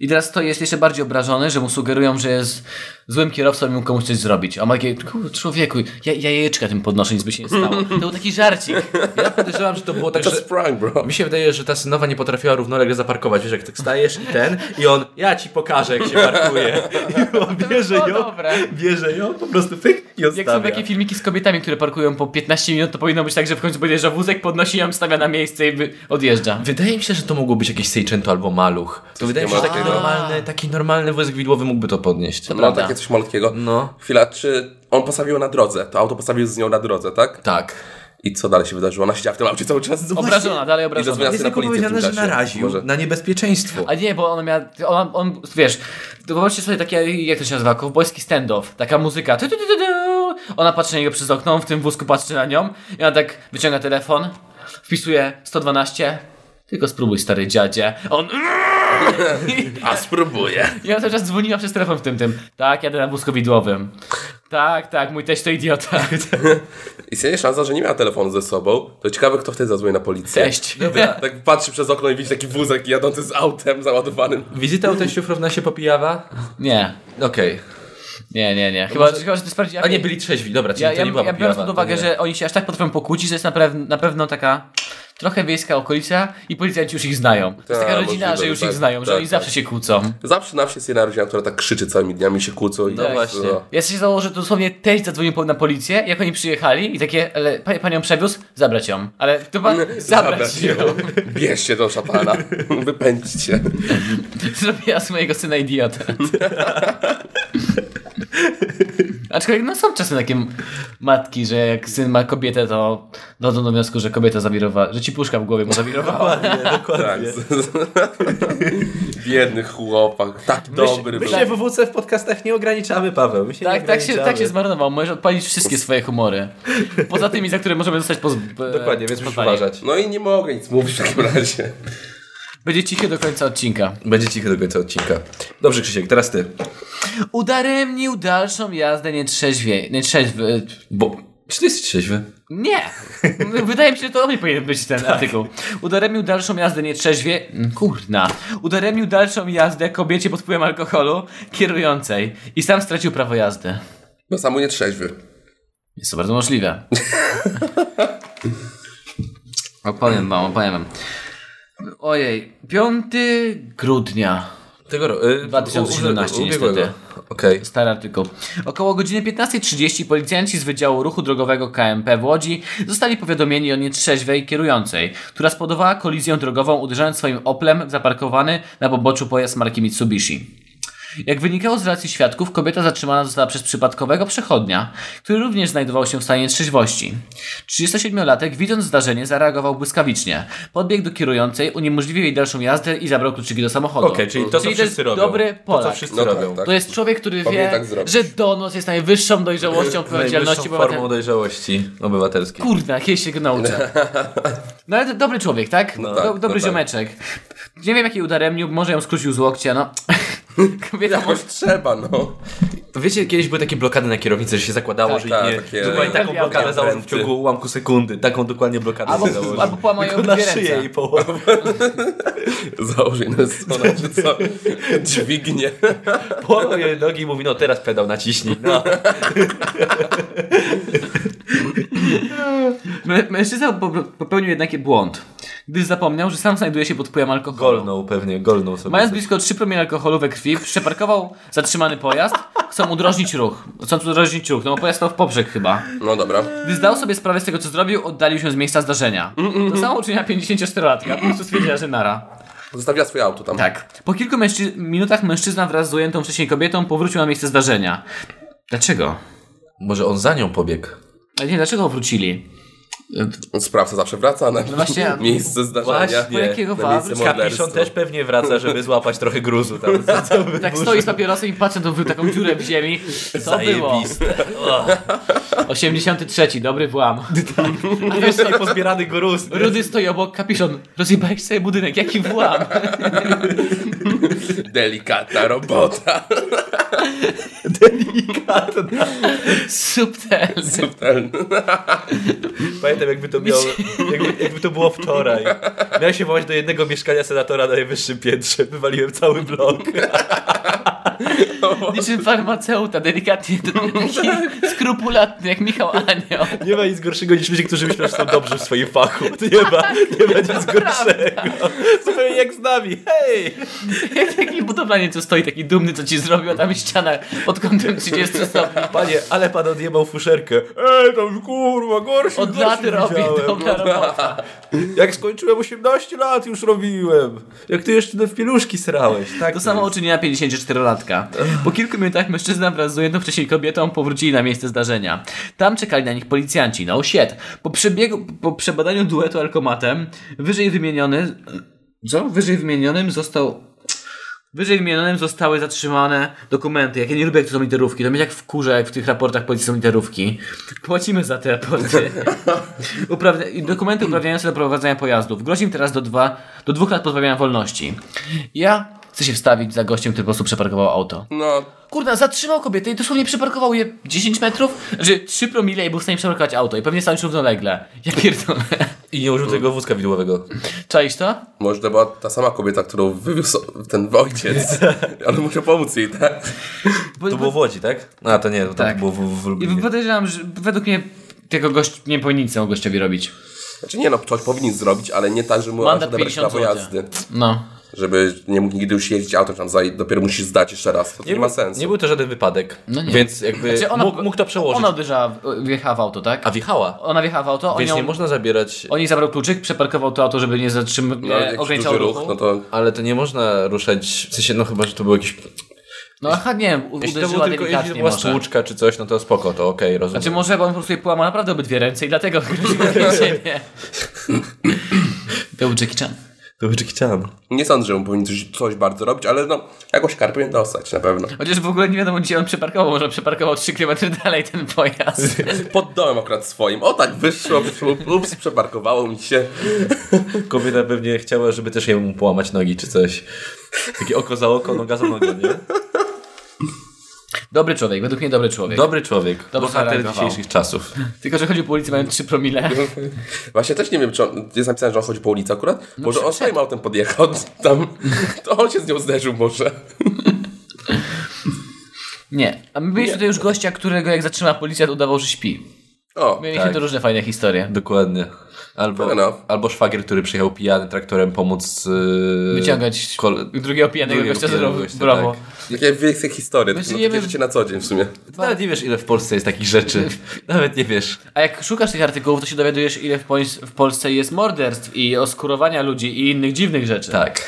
S1: I teraz to jest jeszcze bardziej obrażony, że mu sugerują, że jest złym kierowcą i mu komuś coś zrobić. A ma takie, "Kur- człowieku, ja, ja jajeczka tym podnoszę, nic by się nie stało. To był taki żarcik.
S2: Ja podejrzewam, że to było tak,
S3: To
S2: że...
S3: jest prank, bro.
S2: Mi się wydaje, że ta synowa nie potrafiła równolegle zaparkować. Wiesz, jak tak stajesz i ten, i on, ja ci pokażę, jak się parkuje. I on bierze
S1: było
S2: ją,
S1: dobre.
S2: bierze ją, po prostu pyk i
S1: Jak są
S2: odstawia.
S1: takie filmiki z kobietami, które parkują po 15 minut, to powinno być tak, że w końcu podjeżdża wózek, podnosi ją, stawia na miejsce i wy- odjeżdża.
S2: Wydaje mi się, że to mogło być jakieś Seicento albo Maluch. To wydaje mi się, że taki
S3: takiego.
S2: normalny, taki normalny wojsk widłowy mógłby to podnieść.
S3: No
S1: prawda.
S3: takie coś malutkiego.
S2: No.
S3: Chwila, czy on postawił ją na drodze? To auto postawił z nią na drodze, tak?
S2: Tak.
S3: I co dalej się wydarzyło? Ona siedziała w tym aucie cały czas.
S1: Obrażona, dalej
S3: I
S1: obrażona.
S3: zadzwoniła-
S2: Jest
S3: na
S2: tylko
S3: policję w tym
S2: powiedziane, że
S3: czasie.
S2: naraził
S3: Może.
S2: na niebezpieczeństwo.
S1: A nie, bo ona miała. On, on wiesz, to wyobraźcie sobie takie, jak to się nazywa, kowbojski stand-off, taka muzyka. Tu, tu, tu, tu, tu. Ona patrzy na niego przez okno, on w tym wózku patrzy na nią i ona tak wyciąga telefon, wpisuje 112. Tylko spróbuj, stary dziadzie. A On.
S3: A spróbuję.
S1: I ona cały czas dzwoniła przez telefon w tym tym. Tak, jadę na wózku widłowym. Tak, tak, mój teść to idiota.
S3: Istnieje szansa, że nie miała telefonu ze sobą. To ciekawe, kto wtedy zadzwoni na policję.
S1: Teść.
S3: Tak patrzy przez okno i widzi taki wózek jadący z autem załadowanym.
S2: Wizyta u teściów równa się popijawa?
S1: Nie,
S2: Okej.
S1: nie, nie, nie. Chyba, chyba że to jest prawdziwe.
S2: A nie, byli trzeźwi, dobra, czyli
S1: Ja,
S2: to
S1: ja,
S2: nie była
S1: ja
S2: popijawa.
S1: biorąc pod uwagę,
S2: to nie.
S1: że oni się aż tak potrafią pokłócić, że jest na, pew- na pewno taka trochę wiejska okolica i policjanci już ich znają. To jest
S3: Tak,
S1: taka rodzina,
S3: możliwe,
S1: że już
S3: tak,
S1: ich znają, że
S3: tak,
S1: oni
S3: tak.
S1: zawsze się kłócą.
S3: Zawsze na wsi jest jedna rodzina, która tak krzyczy całymi dniami, się kłócą i
S1: No właśnie.
S3: No.
S1: Ja się założę, że to dosłownie też zadzwonił po- na policję, jak oni przyjechali i takie, ale pa- pan ją przewiózł? Zabrać ją. Ale to
S3: No,
S1: pan... Zabrać ją.
S3: Bierzcie do szapana. Wypędźcie.
S1: Zrobiła z mojego syna idiotę. Aczkolwiek no są czasem takie matki, że jak syn ma kobietę, to dochodzą do wniosku, że kobieta zawirowała, że ci puszka w głowie mu zawirowała.
S2: Dokładnie,
S3: Tak.
S2: dokładnie.
S3: Biedny chłopak. Tak dobry
S2: My
S3: był.
S2: się w WWC w podcastach nie ograniczamy, Paweł. My się
S1: Tak,
S2: nie
S1: tak się, tak się
S2: ograniczamy.
S1: zmarnował. Możesz odpalić wszystkie swoje humory. Poza tymi, za które możemy zostać poz... e,
S2: Dokładnie, więc musisz
S1: pozwani.
S2: uważać.
S3: No i nie mogę nic mówić w takim razie.
S1: Będzie cichy do końca odcinka.
S2: Będzie cicho do końca odcinka. Dobrze, Krzysiek, teraz ty.
S1: Udaremnił dalszą jazdę nietrzeźwie. Nietrzeźwy.
S2: Bo... Czy ty jesteś trzeźwy?
S1: e, Nie! Wydaje mi się, że to o mnie powinien być ten
S2: Tak.
S1: artykuł. Udaremnił dalszą jazdę nietrzeźwie. mm, Kurna. Udaremnił dalszą jazdę kobiecie pod wpływem alkoholu kierującej i sam stracił prawo jazdy.
S3: No samo nie trzeźwy.
S1: Jest to bardzo możliwe. opowiem wam, opowiem wam. Ojej, 5 grudnia.
S2: Tego roku. y,
S1: 2017
S2: u- ubiegłego.
S1: niestety.
S2: Okej.
S1: Stary artykuł. Około godziny 15.30 policjanci z Wydziału Ruchu Drogowego KMP w Łodzi zostali powiadomieni o nietrzeźwej kierującej, która spowodowała kolizję drogową uderzając swoim Oplem w zaparkowany na poboczu pojazd marki Mitsubishi. Jak wynikało z relacji świadków, kobieta zatrzymana została przez przypadkowego przechodnia, który również znajdował się w stanie trzeźwości. 37-latek, widząc zdarzenie, zareagował błyskawicznie. Podbiegł do kierującej, uniemożliwił jej dalszą jazdę i zabrał kluczyki do samochodu.
S2: Okej, czyli to, co wszyscy
S1: jest
S2: robią.
S1: dobry Polak.
S2: To, co wszyscy
S3: No tak,
S2: robią.
S3: tak.
S1: To jest człowiek, który
S3: Powinien
S1: wie,
S3: tak zrobić.
S1: że donos jest najwyższą dojrzałością odpowiedzialności
S2: Najwyższą formą
S1: obywatela.
S2: dojrzałości obywatelskiej.
S1: Kurde, kiedyś się go nauczę. No ale to dobry człowiek, tak?
S3: tak,
S1: Do, dobry
S3: no tak.
S1: ziomeczek. Nie wiem, jaki udaremnił, może ją skrócił z łokcia, no. Kobieta
S3: Jakoś trzeba, no.
S2: Wiecie, kiedyś były takie blokady na kierownicy, że się zakładało,
S1: Tak,
S2: że
S3: tak,
S2: tak, nie...
S3: takie-
S2: Dokładnie taką
S1: Uwielbiam.
S2: blokadę założył w
S3: Pręty.
S2: ciągu ułamku sekundy. Taką dokładnie blokadę
S1: Albo-
S2: sobie założył.
S1: albo połamał ją
S2: Tylko
S1: w
S2: na
S1: dwie
S2: szyję
S1: ręce.
S2: i połamał.
S3: Założyj na stronę, czy co? Dźwignie.
S2: Połamał jej nogi i mówi, no teraz pedał naciśnij. No.
S1: Mę- Mężczyzna po- popełnił jednak błąd, gdyż zapomniał, że sam znajduje się pod wpływem alkoholu.
S2: Golnął pewnie, golnął sobie.
S1: Mając blisko 3 promile alkoholu we krwi, przeparkował zatrzymany pojazd, chcą udrożnić ruch. Chcą udrożnić ruch, no bo pojazd stał w poprzek chyba.
S3: No dobra.
S1: Gdy zdał sobie sprawę z tego, co zrobił, oddalił się z miejsca zdarzenia. To samo uczyniła 54-latka, po prostu stwierdziła, że nara.
S3: Zostawiła swoje auto tam.
S1: Tak. Po kilku mężczy- minutach mężczyzna wraz z ujętą wcześniej kobietą powrócił na miejsce zdarzenia. Dlaczego?
S2: Może on za nią pobiegł.
S1: Ale nie, dlaczego wrócili?
S3: Sprawca zawsze wraca na
S1: właśnie.
S3: miejsce zdarzenia.
S1: Po jakiego
S3: Na miejsce
S1: wawru?
S3: morderstwa.
S2: Kapiszon też pewnie wraca, żeby złapać trochę gruzu tam. Co, co by
S1: Tak
S2: było,
S1: stoi z
S2: żeby-
S1: papierosem i patrzę, to był taką dziurę w ziemi. Co było?
S2: Zajebiste. O,
S1: 83, dobry włam.
S2: Jeszcze pozbierany gruz. nie?
S1: Rudy stoi obok, kapiszon. Rozjebałeś sobie budynek, jaki włam.
S3: Delikatna robota.
S1: Subtelny.
S2: Pamiętam, jakby to, miało, jakby, jakby to było wczoraj. Miałem się wołać do jednego mieszkania senatora na najwyższym piętrze. Wywaliłem cały blok.
S1: Niczym farmaceuta, delikatnie, taki skrupulatny, jak Michał Anioł.
S2: Nie ma nic gorszego niż ludzie, którzy myślą, że są dobrzy w swoim fachu. To nie
S1: Tak.
S2: ma, nie ma nic gorszego. Zupełnie jak z nami. Hej!
S1: Jak taki budowlaniec, co stoi taki dumny, co ci zrobił, a tam ściana pod kątem 30 stopni.
S2: Panie, ale pan odjebał fuszerkę. Ej, tam kurwa, gorszy
S1: Od lat robię dobra robota.
S2: Jak skończyłem 18 lat, już robiłem. Jak ty jeszcze w pieluszki srałeś. Tak,
S1: To samo uczyniła 54-latka. Po kilku minutach mężczyzna wraz z ujętą wcześniej kobietą powrócili na miejsce zdarzenia. Tam czekali na nich policjanci. No shit. Po, przebiegu, po przebadaniu duetu alkomatem, wyżej wymieniony... Co? Wyżej wymienionym został... Wyżej wymienionym zostały zatrzymane dokumenty. Jak ja nie lubię, jak to są literówki. To mnie jak wkurza, jak w tych raportach policji są literówki. Płacimy za te raporty. Uprawnia i dokumenty uprawniające do prowadzenia pojazdów. Grozi im teraz do, dwa, do dwóch lat pozbawienia wolności. Ja chcę się wstawić za gościem, który po prostu przeparkował auto.
S3: No,
S1: Kurna, zatrzymał kobietę i dosłownie przeparkował je 10 metrów, że 3 promile i był w stanie przeparkować auto. I pewnie stał równolegle. Ja pierdolę.
S2: I nie użył tego wózka widłowego.
S1: Czaisz to?
S3: może to była ta sama kobieta, którą wywiózł ten ojciec. Ale muszę pomóc jej, tak?
S1: Bo,
S2: To było w Łodzi, tak? A, to nie, to
S1: Tak.
S2: tak. było w, w
S1: I
S2: Lublinie.
S1: podejrzewam, że według mnie tego gość nie powinien nic temu gościowi robić.
S3: Znaczy nie no, ktoś powinien zrobić, ale nie tak, że mu aż
S1: Mandat
S3: odebrać
S1: 50
S3: prawo
S1: zł.
S3: jazdy.
S1: No.
S3: Żeby nie mógł nigdy już jeździć autem tam za dopiero musisz zdać jeszcze raz. To nie, ma
S2: był-
S3: sensu.
S2: Nie był to żaden wypadek.
S1: No nie.
S2: Więc jakby
S1: Znaczy
S2: mógł, mógł to przełożyć.
S1: Ona uderzała, w- wjechała w auto, tak?
S2: A wjechała.
S1: Ona wjechała w auto, on,
S2: Więc
S1: ją,
S2: nie można zabierać.
S1: on jej zabrał kluczyk, przeparkował to auto, żeby nie zatrzymał,
S3: No,
S1: nie
S3: jakiś
S1: ograniczał
S3: duży
S1: ruchu.
S3: ruch, no to
S2: Ale to nie można ruszać. W sensie, no chyba, że to był jakiś.
S1: No aha, nie wiem, u-
S2: Jeśli to, był
S1: uderzyła
S2: tylko, jeśli to
S1: delikatnie
S2: była
S1: może.
S2: stłuczka czy coś, no to spoko, to okej, rozumiem.
S1: Znaczy może, bo on po prostu jej połamał naprawdę obydwie ręce i dlatego groził więzienie. Był Jackie Chan.
S2: To był Jackie Chan.
S3: nie sądzę, że mu powinien coś, coś bardzo robić, ale no jakąś karę powinien dostać na pewno.
S1: Chociaż w ogóle nie wiadomo gdzie on przeparkował, może przeparkował 3 km dalej ten pojazd.
S3: Pod domem akurat swoim. O tak wyszło, ups, przeparkowało mi się.
S2: Kobieta pewnie chciała, żeby też jemu połamać nogi czy coś. Takie oko za oko, noga za nogę, nie?
S1: Dobry człowiek, według mnie dobry człowiek.
S2: Dobry człowiek,
S1: Dobrze
S2: bohater
S1: zareagował.
S2: dzisiejszych czasów.
S1: Tylko, że chodził po ulicy mając 3 promile.
S3: Właśnie też nie wiem, czy on, jest napisane, że on chodzi po ulicy akurat.
S1: No
S3: może on swoim autem podjechał tam, to on się z nią zderzył może.
S1: Nie. A my mieliśmy tutaj już gościa, którego jak zatrzymała policja, to udawał, że śpi.
S3: O,
S1: Mieliśmy
S2: Tak.
S1: tu różne fajne historie.
S2: Dokładnie. Albo,
S3: Fair enough.
S2: albo szwagier, który przyjechał pijany traktorem pomóc yy,
S1: Wyciągać
S2: kol-
S1: drugiego pijanego
S2: drugiego
S1: gościa z
S2: pijanego
S1: rowu.
S2: gościa,
S1: Brawo.
S2: tak.
S3: jakie wielkie historie. To
S1: My
S3: są
S1: żyjemy
S3: takie
S1: w-
S3: życie na co dzień w sumie.
S2: Ty nawet nie wiesz, ile w Polsce jest takich rzeczy. Nawet nie wiesz.
S1: A jak szukasz tych artykułów, to się dowiadujesz, ile w, Pols- w Polsce jest morderstw i oskurowania ludzi i innych dziwnych rzeczy.
S2: Tak.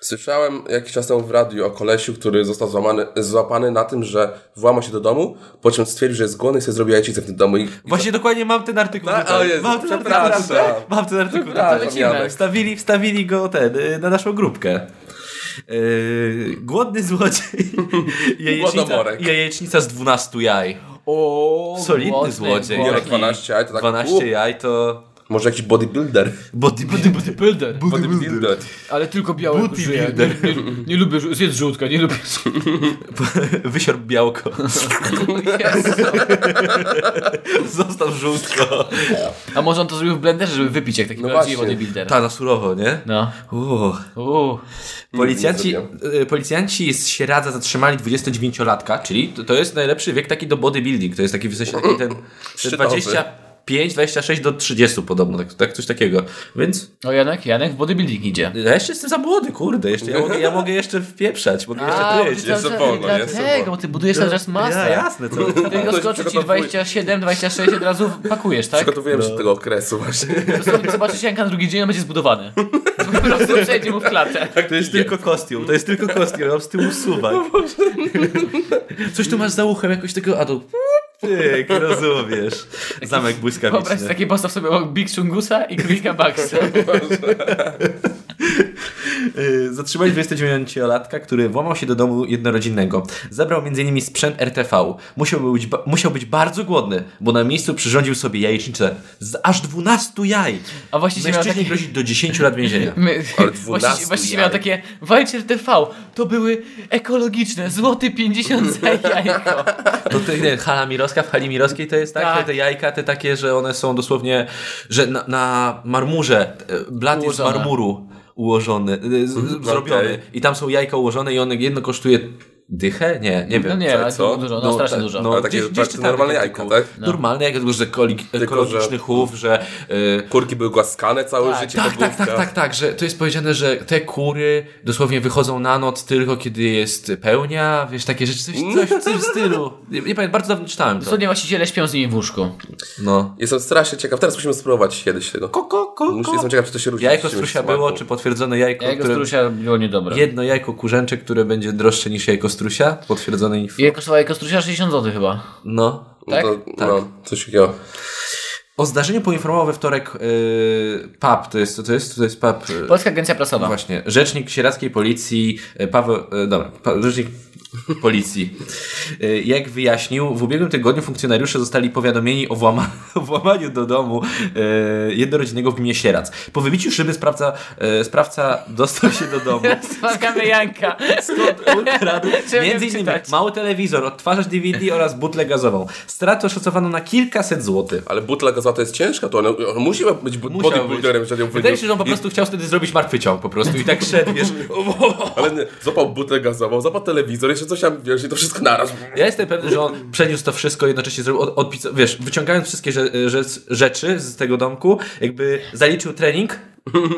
S3: Słyszałem jakiś czas temu w radiu o kolesiu, który został złamany, złapany na tym, że włamał się do domu, po czym stwierdził, że jest głodny i sobie zrobił jajecznicę w tym domu i
S2: Właśnie dokładnie mam ten artykuł.
S3: Tak?
S2: tutaj.
S3: O Jezu,
S2: mam ten
S3: przepraszam.
S2: artykuł. tutaj. Mam ten artykuł.
S3: Przepraszam,
S2: tutaj.
S1: Janek.
S2: Wstawili, wstawili go ten, y, na naszą grupkę. Yy, głodny złodziej. jajecznica,
S3: Głodomorek.
S2: jajecznica z 12 jaj.
S1: O,
S2: Solidny
S1: głodny,
S2: złodziej.
S1: głodny.
S3: Nie, no 12 jaj to tak,
S2: 12
S3: u.
S2: jaj to...
S3: może jakiś bodybuilder.
S2: Body,
S1: Body, body builder.
S3: Bodybuilder.
S2: Tak?
S1: Ale tylko białe
S2: Booty
S1: żyje.
S2: builder.
S1: Nie, nie, nie lubię, żu- zjedz żółtka, nie lubię
S2: Wysiorb białko.
S1: Jezu.
S2: Zostaw żółtko.
S1: A może on to zrobił w blenderze, żeby wypić jak taki
S3: No
S1: prawdziwy
S3: właśnie.
S1: bodybuilder.
S2: Ta, na surowo, nie?
S1: No.
S2: Uuu.
S1: Uuu.
S2: Policjanci,
S3: Nie zrobię.
S2: y, policjanci z Sieradza zatrzymali 29-latka, czyli to, to jest najlepszy wiek taki do bodybuilding. To jest taki w sensie taki ten, ten
S3: Szczytowy.
S2: 25, 26 do 30 podobno, tak, tak coś takiego. Więc no
S1: O Janek, Janek w bodybuilding idzie.
S2: ja jeszcze jestem za młody, kurde, jeszcze ja mogę, ja mogę jeszcze wpieprzać, mogę
S1: A,
S2: jeszcze
S1: bo ty
S2: tyć.
S1: cały
S3: jeszcze
S1: czas-
S3: wolno, nie? Jeszcze
S1: Dlatego, bo ty budujesz cały czas masę.
S2: Ja, jasne, co?
S1: Tylko
S3: się
S1: skoczy ci
S3: przygotowuje.
S1: 27, 26 od razu pakujesz, tak?
S3: Przygotowuję się do tego okresu właśnie.
S1: Zobaczysz- Zobaczysz Janka na drugi dzień, on będzie zbudowany. Po prostu przejdzie mu w
S3: Tak,
S1: klatę.
S2: Tak, To jest tylko kostium, to jest tylko kostium, ja mam z tyłu suwak. Coś tu masz za uchem, jakoś tego, a tu... Tyk, rozumiesz. Zamek
S1: Wyobraź
S2: błyskawiczny.
S1: sobie taki postaw sobie obok Big Chungusa i Królika Baxa.
S2: Yy, Zatrzymali 29-latka, który włamał się do domu jednorodzinnego. Zabrał m.in. sprzęt RTV. Musiał być, ba- musiał być bardzo głodny, bo na miejscu przyrządził sobie jajecznicę z aż 12 jaj.
S1: A właściciel miał
S2: Mężczyźnie
S1: taki...
S2: grozi do 10 lat więzienia.
S1: My,
S3: Ale 12
S1: właściciel, właściciel miał
S3: jaj.
S1: takie Walcier TV, to były ekologiczne, złoty 50 za jajko.
S2: To te, nie, hala mirowska w hali mirowskiej to jest tak,
S1: Tak.
S2: Te, te jajka te takie, że one są dosłownie, że na, na marmurze, e, blat
S1: Ułożone.
S2: jest z marmuru ułożony, e, z, z, zrobiony
S3: okej.
S2: i tam są jajka ułożone i one jedno kosztuje dychę? Nie, nie wiem.
S1: No nie, ale
S3: co?
S1: to dużo, no, strasznie
S2: tak,
S1: dużo.
S2: No,
S3: Ale takie
S2: gdzieś, gdzieś
S3: bardzo
S2: czytałem
S3: normalne
S2: taki
S3: jajko,
S2: artykuł.
S3: tak?
S1: No.
S2: Normalne jajko, tylko że kolik, ekologiczny
S3: że-
S2: chów, że... y,
S3: Kurki były głaskane całe
S1: Tak,
S3: życie.
S2: tak,
S3: ta
S2: tak, tak,
S3: główka.
S2: tak, tak, że to jest powiedziane, że te kury dosłownie wychodzą na noc tylko kiedy jest pełnia, wiesz, takie rzeczy, coś, coś w tym stylu. Nie, nie pamiętam, bardzo dawno czytałem to.
S1: Cudnie właściciele śpią z nimi w łóżku.
S2: No.
S3: Jestem strasznie ciekaw. Teraz musimy spróbować kiedyś tego.
S2: Koko,
S3: Muszę, jestem ciekaw, czy to się różni.
S2: Jajko z
S3: z czymś
S2: trusia
S3: w smaku.
S2: było, czy potwierdzone jajko,
S1: Jego
S2: które...
S1: strusia było niedobre.
S2: Jedno jajko kurczęcze, które będzie droższe niż jajko strusia, potwierdzone inf...
S1: Ile kosztowała jego strusia? 60 zł chyba.
S2: No.
S3: No
S1: tak?
S3: to, No, coś takiego.
S2: O zdarzeniu poinformował we wtorek yy, PAP, to jest, to jest, to jest PAP... Yy,
S1: Polska Agencja Prasowa.
S2: Właśnie, rzecznik sieradzkiej policji, e, Paweł, e, dobra, pa, rzecznik policji, E, jak wyjaśnił, w ubiegłym tygodniu funkcjonariusze zostali powiadomieni o, włama, o włamaniu do domu e, jednorodzinnego w gminie Sieradz. Po wybiciu szyby sprawca, e, sprawca dostał się do domu.
S1: Spotkamy Janka.
S2: Ukradł
S1: Chciałem
S2: między innymi
S1: czytać.
S2: mały telewizor, odtwarzacz DVD oraz butlę gazową. Stratę oszacowano na kilkaset złotych.
S3: Ale butla gazowa to jest ciężka, to on, on musi być bu-
S2: Musiał
S3: bodybuilderem,
S2: być.
S3: żeby ją
S2: Wydaje mi
S3: wyniósł.
S2: się, że on po prostu chciał wtedy zrobić martwy ciąg po prostu i tak szedł, wiesz,
S3: Ale nie, złapał butlę gazową, złapał telewizor, jeszcze że coś tam, wiesz, i to wszystko naraz.
S2: Ja jestem pewny, że on przeniósł to wszystko, jednocześnie zrobił, od, odpisa- wiesz, wyciągając wszystkie rze- rzec- rzeczy z tego domku, jakby zaliczył trening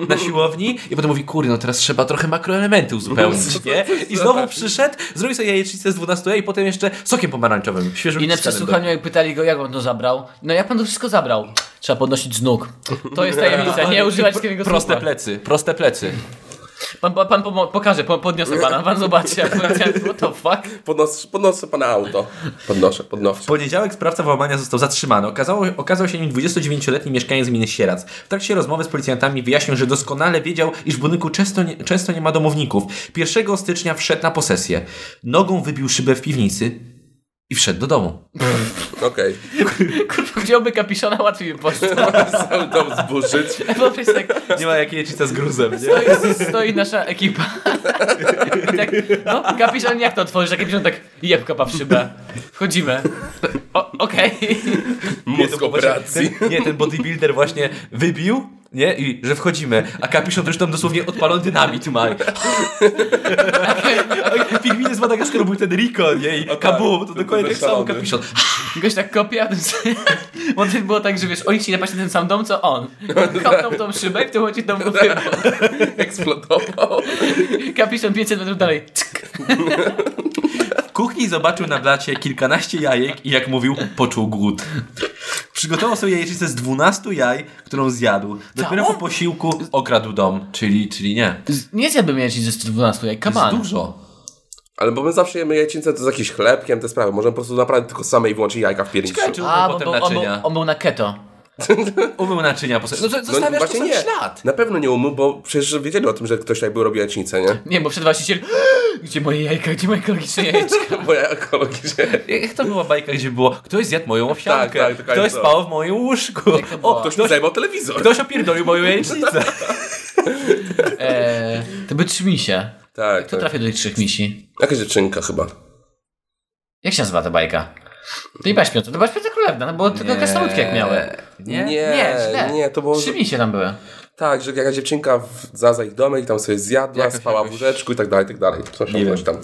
S2: na siłowni i potem mówi, kurde, no teraz trzeba trochę makroelementy uzupełnić, nie? I znowu przyszedł, zrobił sobie jajecznicę z 12 jaj i potem jeszcze sokiem pomarańczowym, świeżym
S1: I na
S2: piskanym
S1: przesłuchaniu jak pytali go, jak on to zabrał. No jak pan to wszystko zabrał? Trzeba podnosić z nóg. To jest tajemnica, nie używać takiego
S2: Proste
S1: słowa.
S2: plecy, proste plecy.
S1: Pan, pan, pan pomo- pokaże, po- podniosę pana, pan zobaczy. jak powiedziałem, What the fuck?
S3: Podnos, podnoszę pana auto. Podnoszę, podnoszę.
S2: poniedziałek sprawca włamania został zatrzymany. Okazało, okazał się nim 29-letni mieszkaniec gminy Sierac. W trakcie rozmowy z policjantami wyjaśnił, że doskonale wiedział, iż w budynku często nie, często nie ma domowników. 1 stycznia wszedł na posesję. Nogą wybił szybę w piwnicy i wszedł do domu.
S3: Okej.
S1: Kurwa, wziąłby kapiszona, łatwiej by poszło.
S3: Cały dom zburzyć.
S1: Po prostu tak,
S2: Nie ma jakiej z gruzem, nie?
S1: stoi, stoi nasza ekipa. I tak, no, kapiszon jak to otworzysz? A kapiszon tak, jeb kapa w szybę. Wchodzimy. O, okej.
S3: Mózg operacji.
S2: Ten, nie, ten bodybuilder właśnie wybił, nie? I że wchodzimy, a kapiszon to już tam dosłownie odpalony dynamit ma. Pigminy z Madagaskaru był ten Rico, nie? I
S3: tak.
S2: kabum, to dokładnie tak samo
S3: Szalony.
S2: kapiszon.
S1: Goś tak kopie, a ten Bo to było tak, że wiesz, oni chcieli napaść na ten sam dom, co on. Kopnął w tą szybę i w tym momencie dom go wybuchł.
S3: Eksplodował.
S1: Kapiszon 500 metrów dalej. Cyk.
S2: W kuchni zobaczył na blacie kilkanaście jajek i jak mówił, poczuł głód. Przygotował sobie jajecznicę z 12 jaj, którą zjadł. Dopiero po
S1: Całą?
S2: posiłku okradł dom, czyli, czyli nie.
S1: Z- Nie zjadłbym jajecznic ze 112, jak
S2: To jest
S1: kaman.
S2: dużo.
S3: Ale bo my zawsze jemy jajcince to z jakimś chlebkiem, te sprawy. Możemy po prostu naprawdę tylko same i wyłączyć jajka w pierniczy.
S2: Czekaj, czy
S1: A,
S2: umył
S1: bo,
S2: potem
S1: bo on, był,
S2: naczynia?
S1: on był na keto.
S2: Umył naczynia po sobie. No, to
S3: No
S2: zostawiasz to
S3: właśnie
S2: sobie
S3: nie.
S2: ślad.
S3: Na pewno nie umył, bo przecież wiedzieli o tym, że ktoś tutaj był robił jajcince, nie?
S1: Nie, bo przed właściciel... Gdzie moje jajka? Gdzie moje ekologiczne jajeczka?
S3: Bo ja ekologicznie.
S2: Jak to była bajka, gdzie było ktoś zjadł moją owsiankę,
S3: Tak, tak, taka
S2: ktoś
S3: jest to.
S2: spał w moim łóżku,
S1: to było?
S2: o, ktoś,
S3: Ktoś mi zajmował telewizor.
S2: ktoś opierdolił moją jajecznicę.
S1: Eee, to by trzy misie.
S3: Tak,
S1: To
S3: tak.
S1: trafię do tych trzech misi.
S3: Jakaś dziewczynka chyba.
S1: Jak się nazywa ta bajka? To nie baśmiota, to baśmiota królewna, no bo tylko krasnoludki jak miały.
S2: Nie?
S1: Nie, źle.
S3: nie, to było
S1: Trzy misie tam były.
S3: tak, że jakaś dziewczynka w, zaza ich domek i tam sobie zjadła,
S2: Jakoś,
S3: spała
S2: jakoś.
S3: w łóżeczku i tak dalej, i tak dalej. Coś tam,
S2: Nie
S3: coś tam.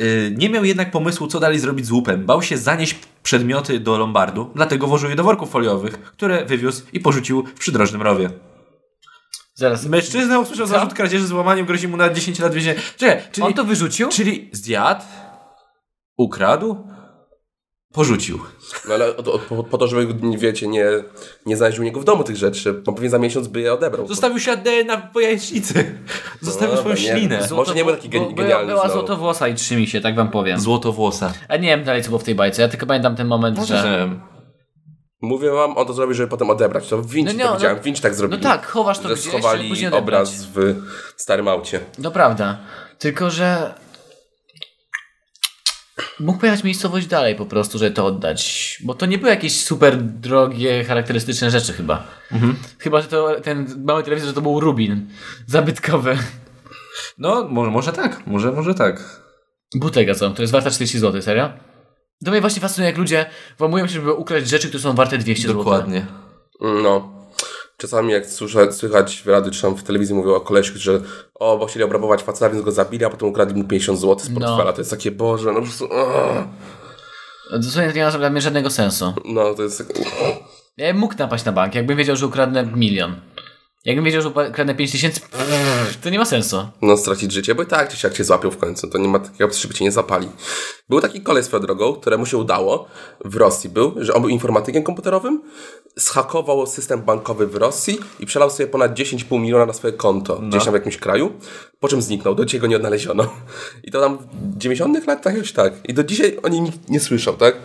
S2: Y, nie miał jednak pomysłu, co dalej zrobić z łupem. Bał się zanieść przedmioty do lombardu, dlatego włożył je do worków foliowych, które wywiózł i porzucił w przydrożnym rowie.
S1: Zaraz.
S2: Mężczyzna usłyszał zarzut kradzieży z łamaniem, grozi mu na 10 lat więzienia. Czekaj, czyli,
S1: On to wyrzucił?
S2: czyli zjadł, ukradł, porzucił.
S3: No ale od, od, po, po to, żeby nie wiecie, nie, nie znaleźć u niego w domu tych rzeczy, bo pewnie za miesiąc by je odebrał.
S2: Zostawił ślad DNA po jajecznicy. Zostawił
S3: Dobra,
S2: swoją
S3: nie.
S2: ślinę.
S3: Zło- Może nie był taki gen- genialny
S1: Była, była
S3: znowu.
S1: złotowłosa i trzy misie, tak wam powiem.
S2: Złotowłosa.
S1: A nie wiem dalej co było w tej bajce, ja tylko pamiętam ten
S3: No
S1: moment, że...
S2: Że...
S3: Mówię wam, on to zrobił, żeby potem odebrać. To w Vinci
S1: No nie,
S3: to
S1: no-
S3: widziałem, w Vinci tak
S1: No
S3: zrobili.
S1: tak, chowasz to
S3: że
S1: gdzieś, żeby
S3: schowali
S1: później odebrać.
S3: obraz w starym aucie.
S1: No prawda. Tylko, że... Mógł pojechać miejscowość dalej po prostu, żeby to oddać. Bo to nie były jakieś super drogie, charakterystyczne rzeczy chyba. Chyba, że to ten mały telewizor, że to był Rubin. Zabytkowy.
S2: No, może, może tak, może, może tak.
S1: Butega co, to jest warta 40 zł, serio? To mnie właśnie fascynuje, jak ludzie włamują się, żeby ukraść rzeczy, które są warte 200 zł.
S2: Dokładnie.
S3: No. Czasami jak słyszę, słychać w radiu czy tam w telewizji mówią o koleśku, że o, bo chcieli obrabować faceta, więc go zabili, a potem ukradli mu 50 zł z portfela. To jest takie, Boże, no po prostu... Uh,
S1: Dosłownie to nie ma dla mnie żadnego sensu.
S3: no, to jest...
S1: Ja bym mógł napaść na bank, jakbym wiedział, że ukradnę milion. Jakbym wiedział, że ukradnę 5 tysięcy, pff, to nie ma sensu.
S3: No, stracić życie, bo i tak gdzieś jak cię złapią w końcu, to nie ma takiej opcji, żeby cię nie zapali. Był taki koleś swoją drogą, któremu się udało, w Rosji był, że on był informatykiem komputerowym, zhakował system bankowy w Rosji i przelał sobie ponad 10,5 miliona na swoje konto,
S1: No.
S3: gdzieś tam w jakimś kraju, po czym zniknął, do dzisiaj go nie odnaleziono. I to tam w 90 latach jakoś tak. I do dzisiaj o nim nikt nie słyszał, tak?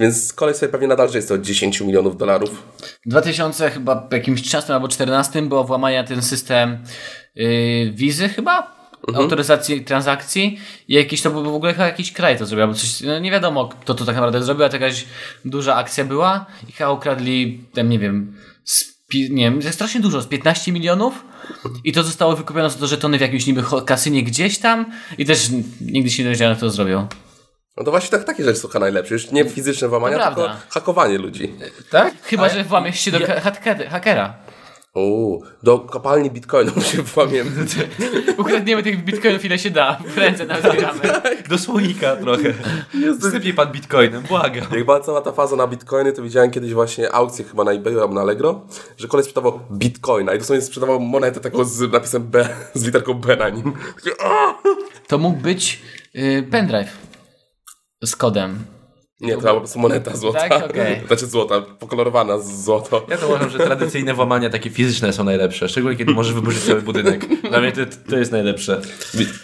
S3: Więc koleś sobie pewnie nadal żyje z tych 10 milionów dolarów.
S1: W 2000 chyba jakimś 13 albo 14 było włamanie na ten system yy, wizy chyba? Autoryzacji transakcji i jakiś to był w ogóle chyba jakiś kraj to zrobił, albo coś, no nie wiadomo kto to tak naprawdę zrobił, ale to jakaś duża akcja była i chyba ukradli tam nie wiem, z, pi- nie wiem, strasznie dużo, z 15 milionów i to zostało wykupione za to żetony w jakimś niby ho- kasynie gdzieś tam i też n- nigdy się nie dowiedziałem kto to zrobił.
S3: No to właśnie tak, takie rzeczy słucha najlepsze. Już nie fizyczne
S1: To
S3: włamania, tylko
S1: prawda.
S3: hakowanie ludzi.
S2: Tak?
S1: Chyba, że włamiesz się do ja... hakera.
S3: Uuu, do kopalni bitcoinów się włamiemy.
S1: Ukradniemy tych bitcoinów ile się da. W ręce nam zbieramy.
S2: Do słoika trochę. Sypie pan bitcoinem, błagam.
S3: Jak była cała ta faza na bitcoiny, to widziałem kiedyś właśnie akcję chyba na eBayu albo na Allegro, że koleś sprzedawał bitcoina i dosłownie sprzedawał monetę taką z napisem B, z literką B na nim. Takie, "O!"
S1: To mógł być y, pendrive z kodem.
S3: Nie, to była po prostu moneta złota.
S1: Tak, okej.
S3: Znaczy złota, pokolorowana z złoto.
S2: Ja to uważam, że tradycyjne włamania takie fizyczne są najlepsze, szczególnie kiedy możesz wyburzyć cały budynek. Dla mnie to, to jest najlepsze.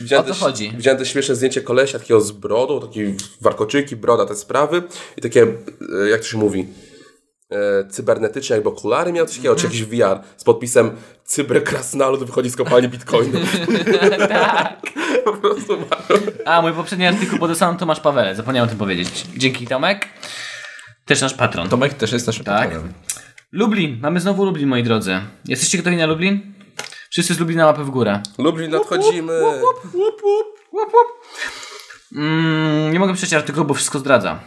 S3: Widziałem
S1: O co
S3: też,
S1: chodzi?
S3: Widziałem też śmieszne zdjęcie kolesia takiego z brodą, taki warkoczyki, broda, te sprawy i takie, e, jak to się mówi, e, cybernetyczne jakby okulary miał coś takiego, czy
S1: Mhm.
S3: jakiś VR z podpisem cyberkrasnalud wychodzi z kopalni bitcoinu.
S1: Tak.
S3: po prostu ma-
S1: A, mój poprzedni artykuł podesłał Tomasz Pawele. Zapomniałem o tym powiedzieć. Dzięki Tomek. Też nasz patron.
S2: Tomek też jest naszym
S1: Tak.
S2: patronem.
S1: Lublin. Mamy znowu Lublin, moi drodzy. Jesteście gotowi na Lublin? Wszyscy z Lublina łapy w górę.
S3: Lublin nadchodzimy.
S1: Mm, nie mogę przeczytać artykułu, bo wszystko zdradza.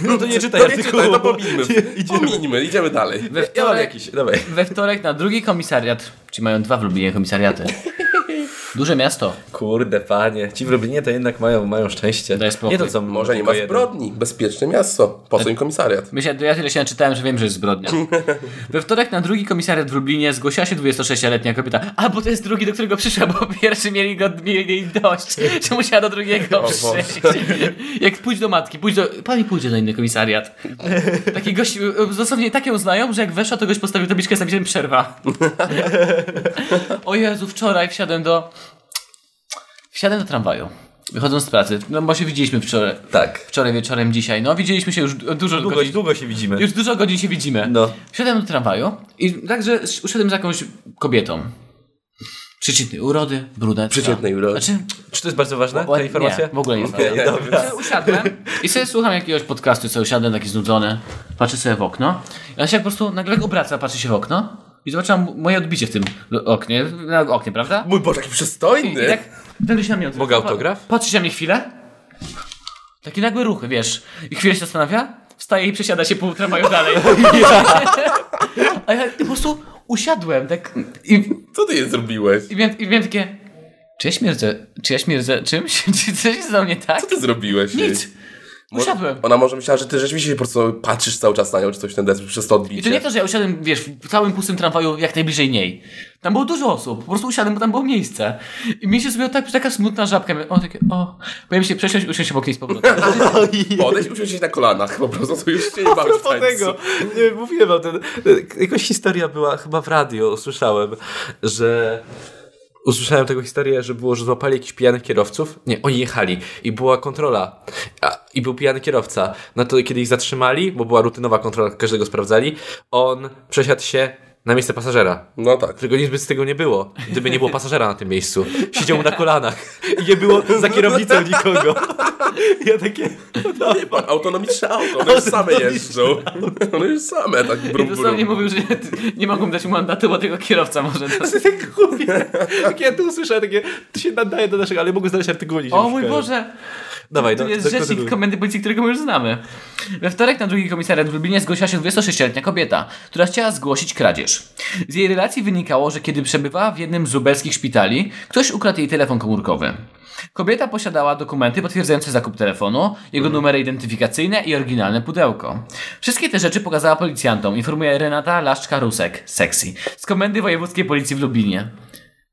S2: No to nie czytaj
S3: To nie czytaj, to pominimy.
S2: Idziemy.
S3: Pominimy, idziemy dalej.
S1: We
S2: Ja mam
S1: wtorek,
S2: jakiś, dawaj.
S1: we wtorek na drugi komisariat. Czyli mają dwa w Lublinie komisariaty. Duże miasto.
S2: Kurde, panie. Ci w Lublinie to jednak mają, mają szczęście.
S1: Daj spokój.
S2: Nie to co
S3: Może nie
S2: tylko
S3: ma
S2: jeden.
S3: zbrodni. Bezpieczne miasto. Po co im komisariat?
S1: Myślę, ja tyle się naczytałem, że wiem, że jest zbrodnia. We wtorek na drugi komisariat w Lublinie zgłosiła się 26-letnia kobieta. A, bo to jest drugi, do którego przyszła, bo pierwszy mieli go mieli dość, że musiała do drugiego
S3: Boże.
S1: przyjść. Jak pójdź do matki, pójdź do... Pani pójdzie na inny komisariat. Taki gość, y, y, dosłownie tak ją znają, że jak weszła, to gość postawił tabliczkę z napisem przerwa. O Jezu, wczoraj wsiadłem do... Wsiadłem do tramwaju. Wychodząc z pracy, no bo się widzieliśmy wczoraj.
S2: Tak.
S1: Wczoraj wieczorem, dzisiaj. No, widzieliśmy się już du- dużo
S2: Długo,
S1: godzin.
S2: długo się widzimy.
S1: Już dużo godzin się widzimy.
S2: Tak. No.
S1: Wsiadłem do tramwaju i także usiadłem z jakąś kobietą. Przeciętnej urody, brunetka.
S3: Przeciętnej urody.
S1: Znaczy,
S2: Czy to jest bardzo ważne,
S1: ła-
S2: ta informacja?
S1: Nie, w ogóle nie jest
S2: Okej,
S1: ważne.
S2: dobra.
S1: Także Usiadłem i sobie słucham jakiegoś podcastu, co usiadłem taki znudzony. Patrzę sobie w okno. I ona się po prostu nagle obraca, patrzy się w okno i zobaczyłam m- moje odbicie w tym l- oknie, na oknie, prawda?
S3: Mój Boże, taki
S1: I
S3: przystojny.
S1: tak nagle się na mnie odzywa.
S2: Mogę autograf?
S1: Patrzy się na mnie chwilę. Takie nagłe ruchy, wiesz. I chwilę się zastanawia, wstaje i przesiada się pół tramwaju dalej. A ja po prostu usiadłem tak i,
S3: Co ty je zrobiłeś?
S1: i, miałem, i miałem takie... Czy ja śmierdzę, czy ja śmierdzę czymś? Czy coś jest ze mnie tak?
S3: Co ty zrobiłeś? jej?
S1: Nic. Usiadłem.
S3: Ona może myślała, że ty rzeczywiście po prostu patrzysz cały czas na nią, czy coś ten deser przez to
S1: I to nie
S3: odbicie.
S1: to, że ja usiadłem, wiesz, w całym pustym tramwaju jak najbliżej niej. Tam było dużo osób, po prostu usiadłem, bo tam było miejsce. I mi się zrobiła tak, taka smutna żabka. Miałem, o, takie, o. Miałem się przesiąść, usiąść obok niej z powrotem.
S3: Podejść, usiąść się na kolanach, po prostu to już się nie bawisz
S2: propos tego, nie, mówiłem o tym, jakaś historia była, chyba w radio usłyszałem, że usłyszałem taką historię, że było, że złapali jakichś pijanych kierowców, nie, oni jechali i była kontrola a, i był pijany kierowca, no to kiedy ich zatrzymali, bo była rutynowa kontrola, każdego sprawdzali, on przesiadł się na miejsce pasażera.
S3: No tak.
S2: Którego nic by z tego nie było, gdyby nie było pasażera na tym miejscu. Siedział na kolanach i nie było za kierownicą nikogo. Ja takie...
S3: Wie pan, autonomiczne auto, one już same jeżdżą. One już same, tak
S1: I
S3: brum
S1: dosłownie
S3: brum.
S1: mówił, że nie mogą dać mu mandatu, bo tylko kierowca może dać.
S2: To tak głupie. Jak ja tu usłyszałem takie, to się nadaje do naszego, ale mogę znaleźć artykuł gdzieś.
S1: O mój Boże!
S2: Dawaj,
S1: To
S2: no,
S1: jest
S2: to- to-
S1: rzecznik
S2: to-
S1: komendy policji, którego my już znamy. We wtorek na drugi komisariat w Lublinie zgłosiła się 26-letnia kobieta, która chciała zgłosić kradzież. Z jej relacji wynikało, że kiedy przebywała w jednym z lubelskich szpitali, ktoś ukradł jej telefon komórkowy. Kobieta posiadała dokumenty potwierdzające zakup telefonu, jego numery identyfikacyjne i oryginalne pudełko. Wszystkie te rzeczy pokazała policjantom, informuje Renata Laszczka-Rusek, sexy, z Komendy Wojewódzkiej Policji w Lublinie.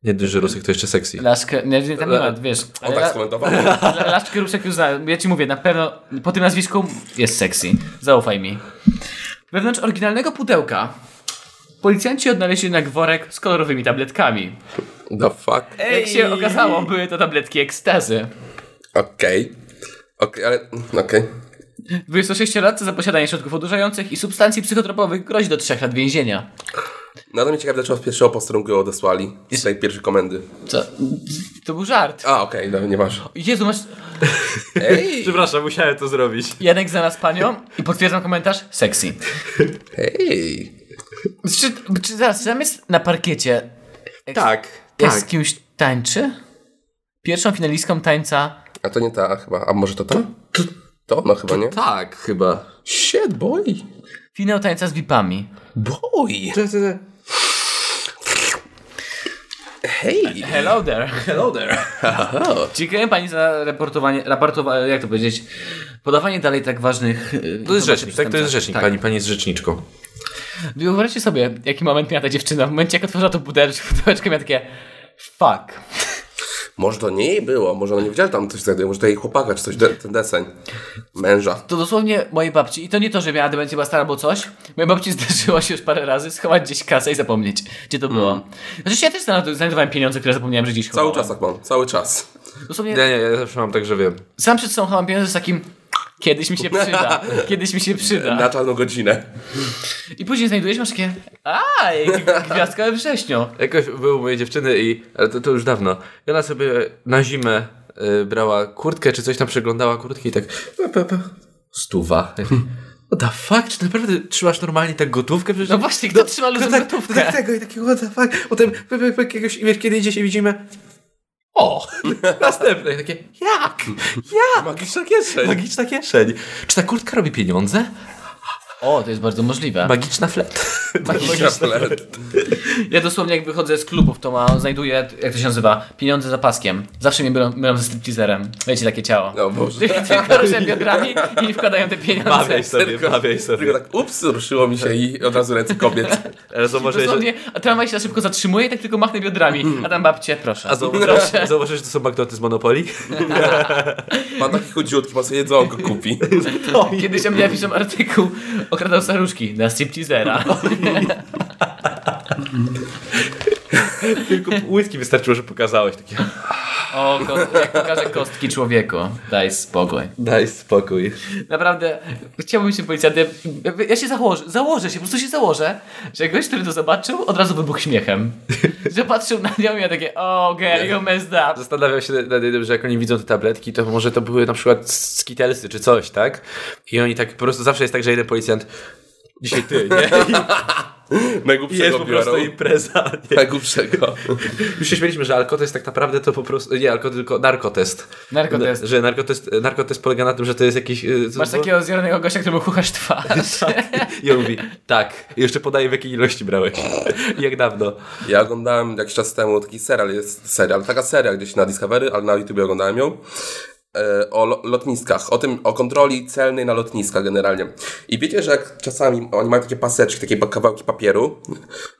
S2: Nie duży rusek, to jeszcze sexy.
S1: Laszkę, nie, nie, tam nie ma, wiesz.
S3: On
S1: ale
S3: tak
S1: la-
S3: skomentował.
S1: La- Laszczkę Ruszek już znam. Ja ci mówię, na pewno po tym nazwisku jest sexy. Zaufaj mi. Wewnątrz oryginalnego pudełka policjanci odnaleźli jednak worek z kolorowymi tabletkami.
S3: The fuck?
S1: Jak się okazało, były to tabletki ekstazy.
S3: Okej. Okej, ale... no Okej.
S1: 26-latce za posiadanie środków odurzających i substancji psychotropowych grozi do 3 lat więzienia.
S3: Nadal No mnie ciekawe, dlaczego z pierwszego posterunku ją odesłali. Z tej pierwszej komendy.
S1: Co? To był żart.
S3: A, okej, no, nie masz.
S1: Jezu, masz...
S3: Ej,
S2: Przepraszam, musiałem to zrobić.
S1: Janek znalazł panią i potwierdzam komentarz sexy.
S3: hej.
S1: Czy, czy zaraz, czy tam jest na parkiecie
S2: Tak,
S1: Jak
S2: tak.
S1: z kimś tańczy? Pierwszą finalistką tańca.
S3: A to nie ta chyba. A może to ta? To? No chyba nie.
S2: Tak, chyba.
S3: Shit, boy.
S1: Finał tańca z VIP-ami.
S3: Boy.
S2: To, to, to.
S3: Hej!
S1: Hello there.
S2: Hello there. No.
S1: Dziękuję pani za raportowanie, raportowanie, jak to powiedzieć, podawanie dalej tak ważnych... e,
S2: To jest
S1: informacji
S2: rzecznik, tak? To jest
S1: przestępca.
S2: rzecznik. tak. Pani, pani jest rzeczniczką.
S1: Wyobraźcie sobie, jaki moment miała ta dziewczyna. W momencie, jak otworzyła tą buteleczkę, buteleczkę miała takie... Fuck.
S3: Może to nie jej było, może ona nie wiedziała, że tam coś znajduje, może to jej chłopaka, czy coś, de- ten deseń. Męża.
S1: To dosłownie mojej babci, i to nie to, że miała demencję była stara albo coś, mojej babci zdarzyło się już parę razy schować gdzieś kasę i zapomnieć, gdzie to było. Znaczy ja też znalazłem- znajdowałem pieniądze, które zapomniałem, że gdzieś
S3: Cały
S1: chowałem.
S3: czas tak mam, cały czas.
S1: Dosłownie
S2: Nie, nie, ja zawsze mam tak, że wiem.
S1: sam przed sobą chowam pieniądze z takim... Kiedyś mi się przyda, kiedyś mi się przyda.
S3: Na czarną godzinę.
S1: I później znajdujesz, masz takie, aj, gwiazdka we wrześniu.
S2: Jakoś był mojej dziewczyny i, ale to, to już dawno, i ona sobie na zimę y, brała kurtkę czy coś tam, przeglądała kurtki i tak pe, pe, pe, stuwa. What the fuck? Czy naprawdę trzymasz normalnie tak gotówkę? Przecież
S1: No właśnie, kto trzyma ludziom
S2: tak,
S1: gotówkę?
S2: kto tak tego i takiego what the fuck? Potem pe, pe, pe, jakiegoś, i wiesz, kiedy idzie się widzimy, o, następne. I takie, jak? Jak?
S3: Magiczna kieszeń.
S2: Magiczna kieszeń. Czy ta kurtka robi pieniądze?
S1: O, to jest bardzo możliwe.
S2: Magiczna flet.
S3: Magiczna flet.
S1: Ja dosłownie jak wychodzę z klubów, to ma, znajduję, jak to się nazywa, pieniądze za paskiem. Zawsze mnie mylą, mylą ze stripteaserem. Wiecie, takie ciało.
S3: No Boże.
S1: Tylko- Tylko ruszę biodrami i wkładają te pieniądze.
S2: sobie, bawiaj
S3: Tylko tak, ups, ruszyło mi się i od razu ręce kobiet.
S2: Ale zauważyłeś, że-
S1: Dosłownie, a tramwaj się za szybko zatrzymuje i tak tylko machnę biodrami. A tam babcie, proszę.
S2: A zauważyłeś, zauważyłeś, że to są banknoty z Monopoli?
S3: Ma taki chudziutki, ma sobie jedzonko kupi.
S1: Kiedyś o mnie piszą artykuł, okradał staruszki na stripteasera.
S2: Tylko łydki wystarczyło, że pokazałeś. Takie.
S1: O, ko- jak pokażę kostki człowieku. Daj spokój.
S2: Daj spokój.
S1: Naprawdę, chciałbym się policjantem. Ja się założę, założę się, po prostu się założę, że gość, który to zobaczył, od razu wybuchł śmiechem. Że patrzył na nią i ja takie, oh girl, you messed up.
S2: Zastanawiam się nad jednym, że jak oni widzą te tabletki, to może to były na przykład skitelsy czy coś, tak? I oni tak po prostu zawsze jest tak, że jeden policjant. Dzisiaj ty, nie? I jest
S3: Najgłupszego
S2: po prostu
S3: biorą.
S2: impreza. Nie?
S3: Najgłupszego.
S2: no. Tak, Już się śmieliśmy, że alkotest tak naprawdę to po prostu. Nie, alko, tylko narkotest.
S1: Narkotest.
S2: Na- Że narkotest, narkotest polega na tym, że to jest jakiś. y, co
S1: Masz
S2: to było?
S1: takiego zjelonego gościa, któremu chuchasz twarz.
S2: I on mówi, tak. I jeszcze podaje w jakiej ilości brałeś. I jak dawno.
S3: Ja oglądałem jakiś czas temu taki serial, jest serial, taka seria gdzieś na Discovery, ale na YouTubie oglądałem ją. e, O lo- lotniskach, o tym, o kontroli celnej na lotniskach generalnie. I wiecie, że jak czasami oni mają takie paseczki, takie pa- kawałki papieru,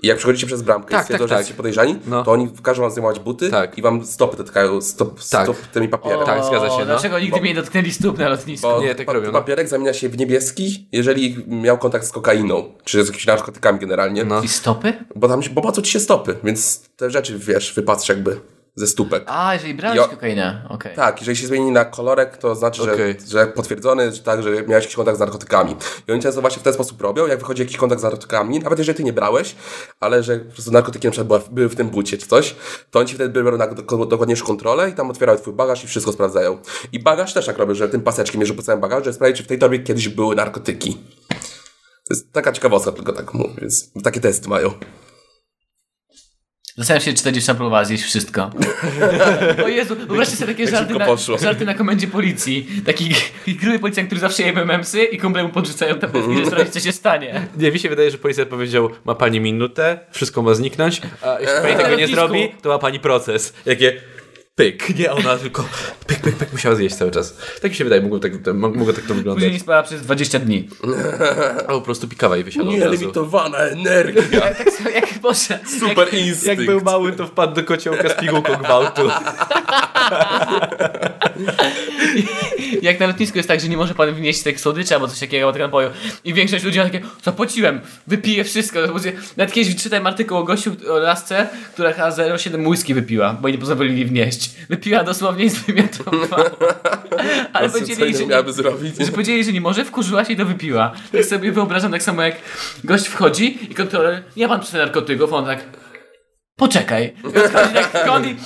S3: i jak przechodzicie przez bramkę
S2: Tak,
S3: i stwierdzą,
S2: tak,
S3: że
S2: tak.
S3: jesteście podejrzani,
S2: No.
S3: to oni każą wam zdejmować buty
S2: Tak.
S3: i wam stopy dotkają stop,
S2: Tak.
S3: stop tymi papierem.
S2: Tak, zgadza się, no.
S1: Dlaczego nigdy mnie nie dotknęli stóp na lotnisku?
S3: Bo
S2: Nie, tak
S3: pa-
S2: robią, no.
S3: papierek zamienia się w niebieski, jeżeli miał kontakt z kokainą, czy z jakimiś narkotykami generalnie.
S2: No.
S1: I stopy?
S3: Bo tam się, bo patrzą ci się stopy, więc te rzeczy, wiesz, wypatrz jakby ze stópek.
S1: A, jeżeli brałeś
S3: Jo-
S1: kokainę, okej.
S3: Tak, jeżeli się zmieni na kolorek, to znaczy,
S2: Okej.
S3: że, że potwierdzony, że tak, że miałeś jakiś kontakt z narkotykami. I oni często właśnie w ten sposób robią, jak wychodzi jakiś kontakt z narkotykami, nawet jeżeli ty nie brałeś, ale że po prostu narkotyki na przykład była- były w tym bucie czy coś, to oni ci wtedy biorą na doko- dokładniejszą kontrolę i tam otwierają twój bagaż i wszystko sprawdzają. I bagaż też tak robią, że tym paseczkiem mierzą po całym bagażu, że sprawdzi, czy w tej torbie kiedyś były narkotyki. To jest taka ciekawostka, tylko tak mówię, więc takie testy mają.
S1: Zastanawiam się, czy ta dziewczyna próbowała zjeść wszystko. O Jezu, wyobraźcie sobie takie
S3: Jak
S1: żarty
S3: Tak szybko
S1: na,
S3: poszło.
S1: żarty na komendzie policji. Taki g- gruby policjant, który zawsze je memsy i kumple mu podrzucają
S3: Mhm.
S1: tabletki, żeby sprawdzić, co się stanie.
S2: Nie, mi się wydaje, że policjant powiedział, ma pani minutę, wszystko ma zniknąć, a jeśli pani tego nie
S1: lotnisku.
S2: zrobi, to ma pani proces. Jakie pyk, nie ona, tylko pyk, pyk, pyk, musiała zjeść cały czas. Tak mi się wydaje, mogło tak, to- mo- mogło tak to
S1: Później
S2: wyglądać.
S1: nie spała przez 20 dni.
S2: A po prostu pikawa i wysiadła No od razu.
S3: Nielimitowana energia.
S1: Tak samo jak Boże.
S3: Super instynkt.
S2: Jak był mały, to wpadł do kociołka z pigułką gwałtu.
S1: Jak, jak na lotnisku jest tak, że nie może pan wnieść tak słodyczy albo coś takiego albo tego napoju. I większość ludzi ma takie, zapłaciłem, wypiję wszystko. Nawet kiedyś czytałem artykuł o gościu, o lasce, która chyba 0,7 whisky wypiła, bo jej nie pozwolili jej wnieść. Wypiła dosłownie i zwymiotowała. Ale
S3: Ale co
S1: powiedzieli, że
S3: innego
S1: nie,
S3: miałaby zrobić?
S1: że powiedzieli, że nie może, wkurzyła się i to wypiła. Tak sobie wyobrażam, tak samo jak gość wchodzi i kontroler, nie pan przy narkotyków, on tak, poczekaj. I odchodzi tak kąt i...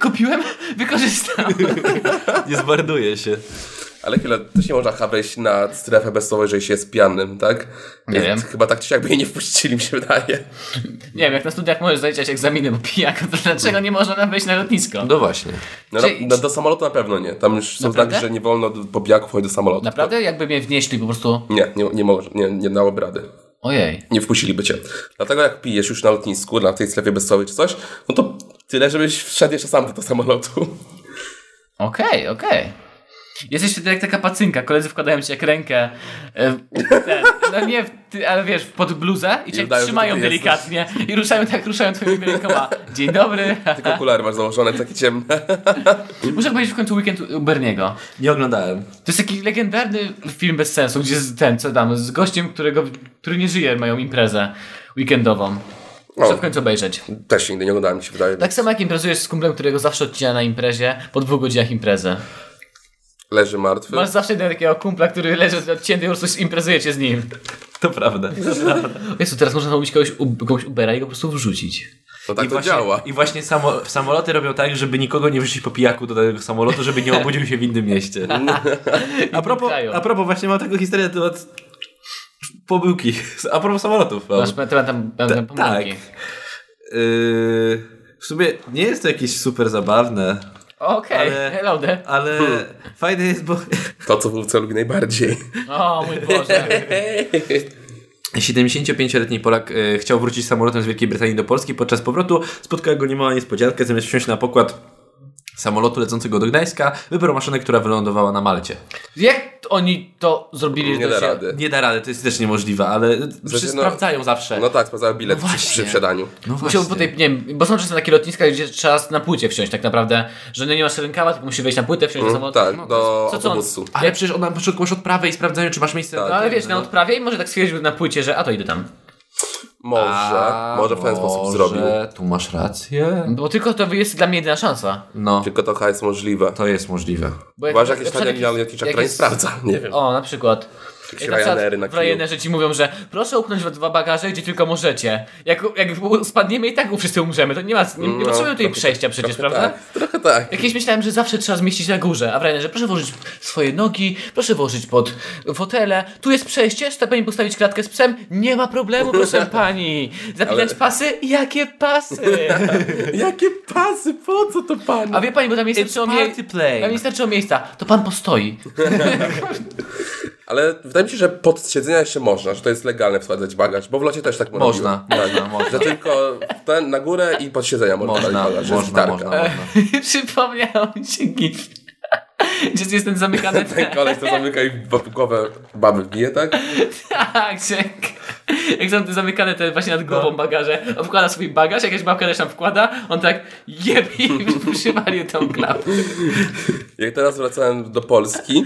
S1: Kupiłem, wykorzystam.
S2: Nie zmarnuje się.
S3: Ale chwilę, też nie można chyba wejść na strefę bezsłową, jeżeli się jest pijanym, tak?
S1: Nie wiem.
S3: Chyba tak czy siak by jej nie wpuścili, mi się wydaje.
S1: Nie wiem, jak na studiach możesz zaliczać egzaminy, bo pijak, to dlaczego nie można nam wejść na lotnisko?
S2: No właśnie.
S3: No, na,
S1: Czy-
S3: na, do samolotu na pewno nie. Tam już są
S1: Naprawdę?
S3: znaki, że nie wolno do- po pijaku wchodzić do samolotu.
S1: Naprawdę? Jakby mnie wnieśli po prostu...
S3: Nie, nie, nie, może, nie, nie dałoby rady.
S1: Ojej.
S3: nie wpuściliby cię. Dlatego jak pijesz już na lotnisku, na tej strefie bezcelowej czy coś, no to tyle, żebyś wszedł jeszcze sam do tego samolotu.
S1: Okej, okej. Jesteś wtedy jak taka pacynka, koledzy wkładają ci jak rękę. e, w Ten, no nie, w ty, ale wiesz, pod bluzę i cię
S3: udają, że
S1: trzymają
S3: ty jesteś.
S1: delikatnie i ruszają tak, ruszają twoimi rękoma. Dzień dobry.
S3: Tylko okulary masz założone, takie ciemne.
S1: Muszę powiedzieć w końcu weekend u Berniego.
S2: Nie oglądałem.
S1: To jest taki legendarny film bez sensu, gdzie z ten, co tam, z gościem, którego, który nie żyje, mają imprezę weekendową. Muszę
S3: O.
S1: w końcu obejrzeć.
S3: Też się nigdy nie oglądałem, mi się wydaje.
S1: Tak samo jak imprezujesz z kumplem, którego zawsze odcina na imprezie po dwóch godzinach imprezy.
S3: Leży martwy.
S1: Masz zawsze jednego takiego kumpla, który leży odcięty i po prostu imprezujecie z nim.
S2: To prawda.
S1: Jezu, teraz można robić kogoś, u- kogoś Ubera i go po prostu wrzucić.
S3: No tak
S2: I
S3: to
S2: właśnie,
S3: działa.
S2: I właśnie samo, samoloty robią tak, żeby nikogo nie wrzucić po pijaku do tego samolotu, żeby nie obudził się w innym mieście. A propos,
S1: kraju.
S2: a propos właśnie mam taką historię na temat pomyłki. A propos samolotów. mam.
S1: Masz temat tam, tam, tam
S2: tak.
S1: pomyłki.
S2: Yy, w sumie nie jest to jakieś super zabawne,
S1: Okej,
S2: Ale-
S1: hello there.
S2: ale
S3: Hmm.
S2: fajne jest, bo
S3: To, co wówce lubi najbardziej.
S1: O mój Boże.
S2: 75-letni Polak e, chciał wrócić samolotem z Wielkiej Brytanii do Polski. Podczas powrotu spotkała go niemała niespodzianka. Zamiast wsiąść na pokład samolotu lecącego do Gdańska, wybrał maszynę, która wylądowała na Malcie.
S1: Jak oni to zrobili? że
S3: Nie
S1: to
S3: da
S1: się-
S3: rady.
S2: Nie da rady, to jest też niemożliwe, ale wszyscy
S3: no-
S2: sprawdzają zawsze.
S3: No tak, sprawdzałem bilet
S2: No
S3: przy,
S2: właśnie.
S3: przy przedaniu.
S2: No
S1: Musiał tutaj, nie wiem, bo są czasem takie lotniska, gdzie trzeba na płycie wsiąść tak naprawdę, że no nie masz rękawa, tylko musi wejść na płytę, wsiąść do samolotu.
S3: tak,
S2: no
S3: do
S1: co, co on-
S3: autobusu.
S2: Ale Tak. przecież on na początku masz odprawę i sprawdzają, czy masz miejsce.
S1: No ale wiesz, na odprawie i może tak stwierdził na płycie, że a to idę tam.
S3: Może,
S2: A,
S3: może w ten sposób
S2: może,
S3: zrobił.
S2: Tu masz rację.
S1: Bo tylko to jest dla mnie jedyna szansa.
S2: No,
S3: Tylko to chyba jest możliwe.
S2: to jest możliwe.
S1: Bo
S3: Chyba, że jakieś
S1: na przykład
S3: tanie linia lotnicza,
S1: jak
S3: która nie
S1: jest-
S3: sprawdza. Nie wiem.
S1: O, na przykład.
S3: Jakieś
S1: Jak na przykład
S3: Ryanery na
S1: w
S3: kiju.
S1: Ryanerze ci mówią, że proszę upchnąć we dwa bagaże, gdzie tylko możecie. Jak, jak spadniemy i tak wszyscy umrzemy, to nie ma, nie, nie
S3: No,
S1: potrzebujemy tutaj
S3: trochę-
S1: przejścia przecież,
S3: trochę
S1: prawda?
S3: Tak, trochę tak.
S1: Jakieś myślałem, że zawsze trzeba zmieścić na górze, a w Ryanerze proszę włożyć swoje nogi, proszę włożyć pod fotele, tu jest przejście, chce pani postawić klatkę z psem, nie ma problemu, proszę pani. Zapinać
S3: Ale-
S1: pasy? Jakie pasy?
S3: Jakie pasy, po co to pan?
S1: A wie pani, bo tam nie starczyło, mie-
S2: party plane.
S1: tam nie starczyło miejsca, to pan postoi.
S3: Ale wydaje mi się, że pod siedzenia jeszcze można, że to jest legalne wsadzać bagaż, bo w locie też tak
S2: Można,
S3: robiło.
S2: można,
S3: Tak.
S2: można.
S3: Że tylko ten na górę i pod siedzenia można,
S2: Można,
S3: wsadzić bagaż.
S2: można,
S3: Jest
S2: można,
S3: gitarka.
S2: można.
S1: Przypomniał mi się gif. Gdzie jest ten zamykany
S3: Ten koleś to zamyka i w głowę baby bije, tak?
S1: Tak, że jak, jak są te zamykane te właśnie nad głową bagaże, on wkłada swój bagaż, jakaś babka też tam wkłada, on tak jeb i przywalił tą klapę.
S3: Jak teraz wracałem do Polski,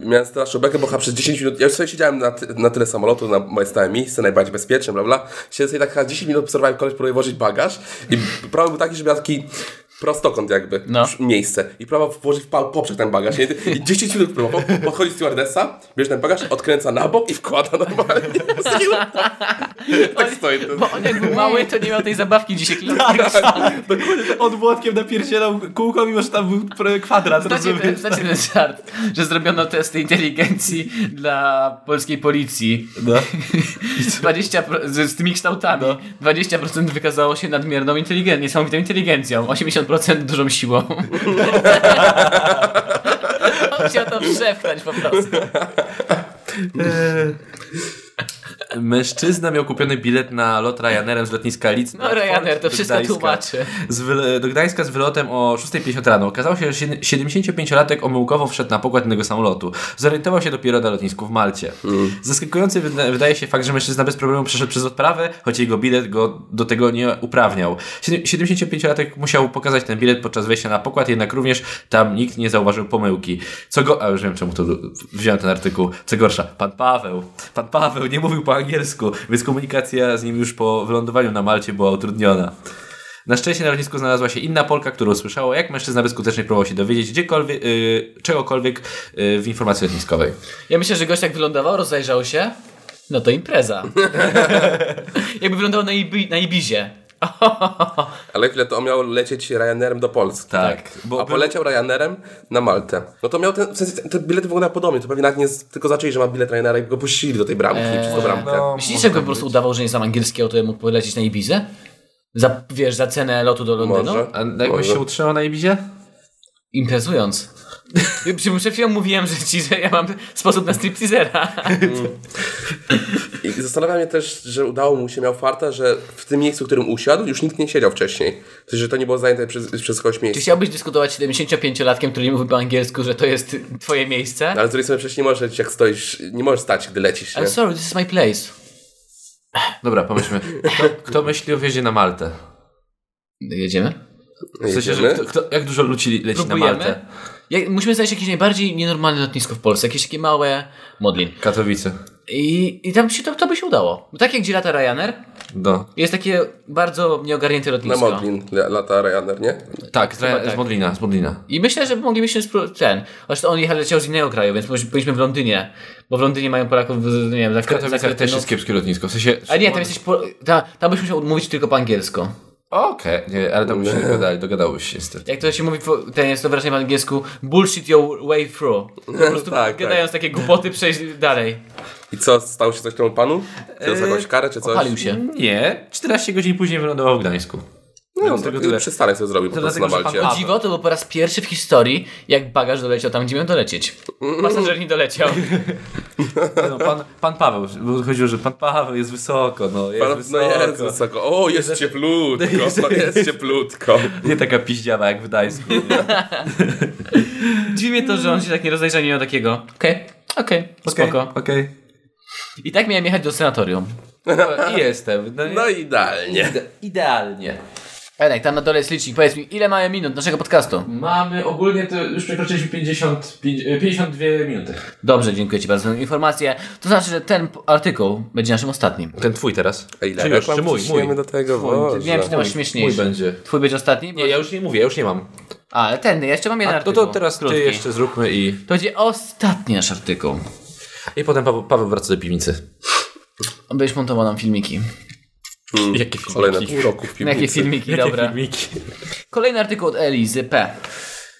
S3: miałem straszną bekę, bo chyba przez 10 minut, ja już sobie siedziałem na, ty- na tyle samolotu, na moje stałe miejsce, najbardziej bezpieczne, bla bla. Siedziałem sobie tak chyba 10 minut, obserwowałem koleś, próbuje włożyć bagaż i problem był taki, że miał taki prostokąt jakby,
S1: No.
S3: przy- miejsce i próbował włożyć w pal poprzek ten bagaż. I, I 10 minut próbował, podchodzi stewardessa, bierze ten bagaż, odkręca na bok i wkłada normalnie. tak stoi. ten-
S1: Bo on jak był mały, to nie miał tej zabawki dzisiaj klapki.
S2: Dokładnie, on Włodkiem napierdzielał kółko, mimo że tam był prawie kwadrat,
S1: Znacie ten, znacie ten żart, że zrobiono testy inteligencji dla polskiej policji.
S2: No.
S1: 20, pro- z, z tymi kształtami. 20% wykazało się nadmierną inteligencją, niesamowitą inteligencją, 80% dużą siłą. On Chciał to przepchnąć po prostu.
S2: Mężczyzna miał kupiony bilet na lot Ryanerem z lotniska Leeds.
S1: No Ryanair to wszystko tłumaczy.
S2: Z wyl- do Gdańska z wylotem o 6.50 rano. Okazało się, że siedem- 75-latek omyłkowo wszedł na pokład innego samolotu. Zorientował się dopiero na lotnisku w Malcie. Zaskakujący wyda- wydaje się fakt, że mężczyzna bez problemu przeszedł przez odprawę, choć jego bilet go do tego nie uprawniał. Siedem- 75-latek musiał pokazać ten bilet podczas wejścia na pokład, jednak również tam nikt nie zauważył pomyłki. Co go... A już wiem, czemu to wziąłem ten artykuł. Co gorsza, pan Paweł. Pan Paweł nie mówił po angielsku, więc komunikacja z nim już po wylądowaniu na Malcie była utrudniona. Na szczęście na lotnisku znalazła się inna Polka, która usłyszała, jak mężczyzna bezskutecznie próbował się dowiedzieć gdziekolwiek, y, czegokolwiek y, w informacji lotniskowej.
S1: Ja myślę, że gość jak wylądował, rozejrzał się, no to impreza. Jakby wylądował na, Ibi- na Ibizie.
S3: Ale chwilę to on miał lecieć Ryanerem do Polski.
S2: Tak. Bo
S3: a
S2: był-
S3: poleciał Ryanerem na Maltę. No to miał ten, w sensie te bilety wyglądały podobnie, to pewnie nawet nie z, tylko zaczęli, że ma bilet Ryanera i go puścili do tej bramki,
S2: Eee,
S3: przez tą bramkę.
S2: no.
S1: Myślisz, że jakby po prostu udawał, że nie znam angielskiego, to ja mógł polecieć na Ibizę? Za, wiesz, za cenę lotu do Londynu?
S3: Może.
S2: A jak byś
S3: Może.
S2: się utrzymał na Ibizie?
S1: Imprezując. Przy- Przed chwilą mówiłem, że ci, że ja mam sposób na stripteasera.
S3: I zastanawia mnie też, że udało mu się, miał farta, że w tym miejscu, w którym usiadł, już nikt nie siedział wcześniej. To, znaczy, Że to nie było zajęte przez, przez kogoś
S1: Czy
S3: miejsce.
S1: chciałbyś dyskutować z 75-latkiem, który nie mówi po angielsku, że to jest twoje miejsce?
S3: Ale z drugiej strony przecież nie możesz, jak stoisz, nie możesz stać, gdy lecisz, nie?
S1: I'm sorry, this is my place.
S2: Dobra, pomyślmy. Kto, kto myśli o wjeździe na Maltę?
S1: Jedziemy?
S2: W sensie, że kto, kto, jak dużo ludzi leci na
S1: Próbujemy.
S2: Maltę?
S1: Jak, musimy znaleźć jakieś najbardziej nienormalne lotnisko w Polsce, jakieś takie małe modlin.
S2: Katowice.
S1: I, i tam się, to, to by się udało. Bo tak jak gdzie lata Ryanair,
S2: No.
S1: jest takie bardzo nieogarnięte
S3: Na
S1: lotnisko.
S3: Modlin la- lata Ryanair, nie?
S2: Tak, z,
S1: Chyba
S2: z
S1: tak.
S2: Modlina, z Modlina.
S1: I myślę, że moglibyśmy spróbować ten. Zresztą on jechał leciał z innego kraju, więc może byliśmy w Londynie. Bo w Londynie mają Polaków, z- nie wiem, za,
S2: W
S1: za
S2: Katowicach też
S1: kartyną.
S2: jest kiepskie lotnisko. W sensie...
S1: A nie, tam jesteś. Po, ta, tam byś musiał mówić tylko po angielsku.
S2: Okej, nie, ale tam by się nie dogadali, dogadałeś się niestety.
S1: Jak to się mówi, po- ten jest to wrażenie po angielsku, bullshit your way through. Po prostu
S3: tak.
S1: gadając takie głupoty, przejść dalej.
S3: I co, stało się coś temu panu? Czy eee, jakąś karę, czy coś?
S1: Palił się.
S2: Nie, 14 godzin później wylądował w Gdańsku.
S3: No,
S2: Tylko
S3: tylko
S2: tyle.
S3: przystanek sobie zrobił po
S2: To
S3: prostu na
S2: dlatego, że pan
S3: Malcie.
S2: ma-
S1: O dziwo, to był po raz pierwszy w historii, jak bagaż doleciał tam, gdzie miał dolecieć. Pasażer nie doleciał.
S2: No, pan, pan Paweł, bo chodziło, że pan Paweł jest wysoko, no jest
S3: Pan, no
S2: wysoko.
S3: jest wysoko. O, jest cieplutko, no jest cieplutko.
S2: Nie taka piździawa jak w Gdańsku.
S1: Dziwi mnie to, że on się tak nie rozejrzał, nie miał takiego. Okej, okej, spoko.
S2: Okej.
S1: I tak miałem jechać do senatorium.
S2: I jestem. No,
S3: No idealnie.
S2: idealnie.
S1: Enek, tam na dole jest licznik, powiedz mi, ile mamy minut naszego podcastu?
S2: Mamy ogólnie to już przekroczyliśmy 50, 52 minuty.
S1: Dobrze, dziękuję Ci bardzo za tę informację. To znaczy, że ten p- artykuł będzie naszym ostatnim.
S2: Ten twój teraz?
S3: A ile
S2: Czy już,
S3: reklam
S2: czy mój,
S3: ciśniemy
S2: mój.
S3: do tego? Boże.
S1: Wiem, czy ty masz śmieszniejszy.
S2: Mój będzie.
S1: Twój będzie ostatni?
S2: Nie, ja już nie mówię, ja już nie mam.
S1: A, ale ten, ja jeszcze mam jeden
S2: A, no
S1: artykuł.
S2: to teraz ty
S1: krótki.
S2: jeszcze zróbmy i...
S1: To będzie ostatni nasz artykuł.
S2: I potem Paweł, Paweł wraca do piwnicy.
S1: Będziesz montował nam filmiki.
S2: Jakie filmiki?
S3: Kolejne pół roku w
S1: Na Jakie
S3: piwnicy.
S1: filmiki, dobra.
S2: filmiki?
S1: Kolejny artykuł od Elizy P.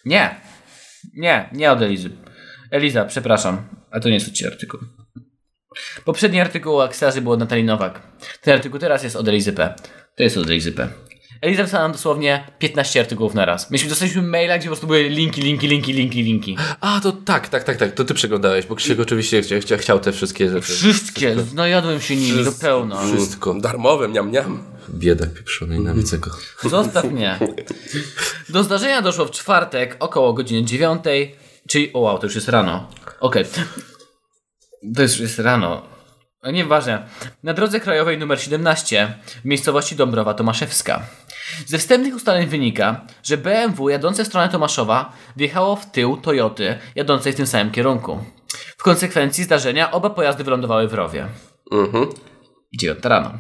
S1: Nie. Nie, nie od Elizy. Eliza, przepraszam. A to nie jest ci artykuł. Poprzedni artykuł o Akstazy był od Natalii Nowak. Ten artykuł teraz jest od Elizy P. To jest od Elizy P. Eliza wysłała nam dosłownie 15 artykułów na raz. Myśmy dostaliśmy maila, gdzie po prostu były linki, linki, linki, linki, linki.
S2: A, to tak, tak, tak, tak. To ty przeglądałeś, bo Krzysiek oczywiście chciał, chciał, chciał te wszystkie rzeczy.
S1: Wszystkie, najadłem się nimi do pełna.
S2: Wszystko.
S3: Darmowe, miam, miam.
S2: Biedak pieprzony, nienawidzę go.
S1: Zostaw mnie. Do zdarzenia doszło w czwartek około godziny dziewiątej, czyli o wow, to już jest rano. Okej. To już jest rano. A Nieważne. Na drodze krajowej nr 17 w miejscowości Dąbrowa Tomaszewska. Ze wstępnych ustaleń wynika, że BMW jadące w stronę Tomaszowa wjechało w tył Toyoty jadącej w tym samym kierunku. W konsekwencji zdarzenia oba pojazdy wylądowały w rowie. 9 rano.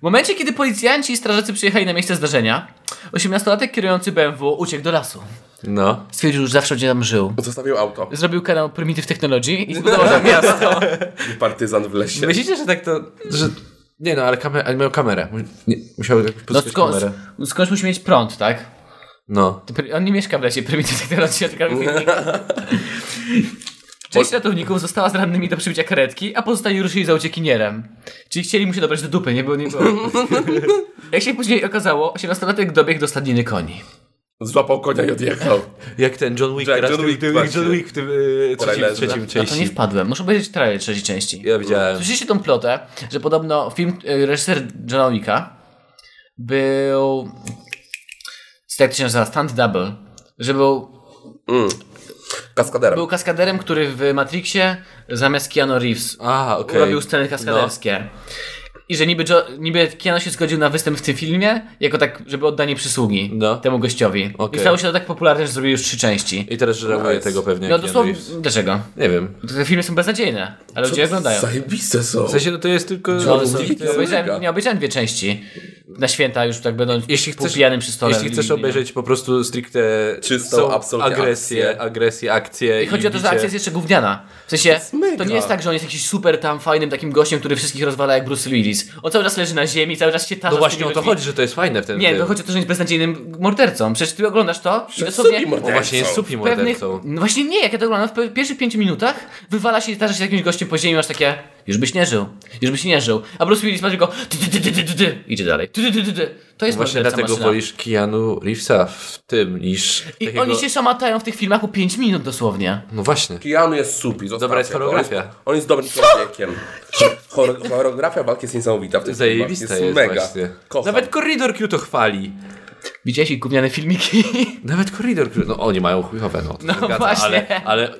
S1: W momencie, kiedy policjanci i strażacy przyjechali na miejsce zdarzenia, 18-latek kierujący BMW uciekł do lasu.
S2: No.
S1: Stwierdził, że zawsze będzie tam żył.
S3: Zostawił auto.
S1: Zrobił kanał Primitive Technology i zbudował tam miasto.
S3: I partyzan w lesie.
S2: Myślicie, że tak to... Że... Nie no, ale, kamer... ale miał kamerę. Mu- Nie, musiał jakoś
S1: No,
S2: pozyskać
S1: sko-
S2: kamerę.
S1: skądś musi mieć prąd, tak?
S2: No.
S1: To pr- On nie mieszka w lesie Primitive Technology, tylko w kliniku. Część ratowników została z rannymi do przybicia karetki, a pozostali ruszyli za uciekinierem. Czyli chcieli mu się dobrać do dupy, nie było, nie było. Jak się później okazało, 18-latek dobiegł do stadniny koni.
S3: Złapał konia i odjechał.
S2: Jak ten John Wick
S3: Jak
S2: teraz,
S3: Tak, John
S2: ten-
S3: Wick
S2: ten-
S3: właśnie.
S2: John Wick w tym yy, trzecim,
S3: Trailerze.
S2: trzecim
S1: Na to nie
S2: części.
S1: wpadłem. Muszę powiedzieć trailer trzeciej części.
S2: Ja widziałem.
S1: Słyszeliście tą plotę, że podobno film y, reżyser Johna Wicka był z- jak to się nazywa, stand double, że był,
S3: Kaskaderem.
S1: był kaskaderem, który w Matrixie zamiast Keanu Reeves
S2: A, okej. No.
S1: robił sceny kaskaderskie. I że niby, jo- niby Keanu się zgodził na występ w tym filmie, jako tak, żeby oddanie przysługi
S2: No.
S1: temu gościowi.
S2: Okej.
S1: I stało się to tak popularne, że zrobił już trzy części.
S2: I teraz żałuję
S3: Nice.
S2: tego pewnie.
S1: No
S2: Keanu
S1: dosłownie,
S2: Reeves.
S1: dlaczego?
S2: Nie wiem.
S1: Te filmy są beznadziejne, ale ludzie je oglądają.
S3: Zajebiste są.
S2: W sensie, no to jest tylko...
S1: No, ale
S3: Wick
S1: są,
S3: jest
S1: nie, obejrzałem,
S3: mega.
S1: nie obejrzałem dwie części. Na święta już tak będą
S2: Jeśli chcesz-
S1: pijanym przy stole.
S2: Jeśli chcesz obejrzeć po prostu stricte
S3: Czystą,
S2: są
S3: absolutnie
S2: agresję,
S3: akcję.
S2: agresję, akcję
S1: I chodzi o to, że akcja jest jeszcze gówniana. W sensie,
S3: jest
S1: to,
S3: mega.
S1: nie jest tak, że on jest jakiś super tam fajnym takim gościem, który wszystkich rozwala jak Bruce Willis. On cały czas leży na ziemi, cały czas się tarza.
S2: No
S1: z
S2: właśnie o
S1: tymi
S2: to
S1: ludźmi.
S2: chodzi, że to jest fajne w ten
S1: Nie,
S2: tym.
S1: to chodzi o to, że on jest beznadziejnym mordercą. Przecież ty oglądasz to i dosłownie...
S3: Supi
S2: O
S3: mordercą.
S2: właśnie jest supi
S1: w Pewnych,
S2: mordercą.
S1: no właśnie nie, jak ja to oglądam, w pe- pierwszych pięciu minutach wywala się i tarza się z jakimś gościem po ziemi, masz takie, Już byś nie żył. Już byś nie żył. A Bruce Willis ma tylko ty, ty, ty, ty, ty, ty, ty. idzie dalej. Ty, ty, ty, ty, ty. To jest
S2: No Właśnie
S1: morderca
S2: dlatego
S1: maszyna.
S2: wolisz Keanu Reevesa w tym niż
S1: I
S2: takiego...
S1: oni się szamatają w tych filmach po 5 minut dosłownie.
S2: No właśnie.
S3: Keanu jest supi. zostawcie
S2: Dobra jest
S3: go.
S2: choreografia.
S3: On jest, on jest dobrym człowiekiem. Chore- Choreografia walki jest niesamowita w tym
S2: Zajebista jest
S3: mega.
S2: właśnie.
S3: Kocham.
S2: Nawet Corridor Q to chwali.
S1: Widziałeś ich gówniane filmiki?
S2: Nawet Corridor Q... No oni mają chujowe, no. to
S1: No
S2: się zgadza,
S1: właśnie.
S2: Ale, ale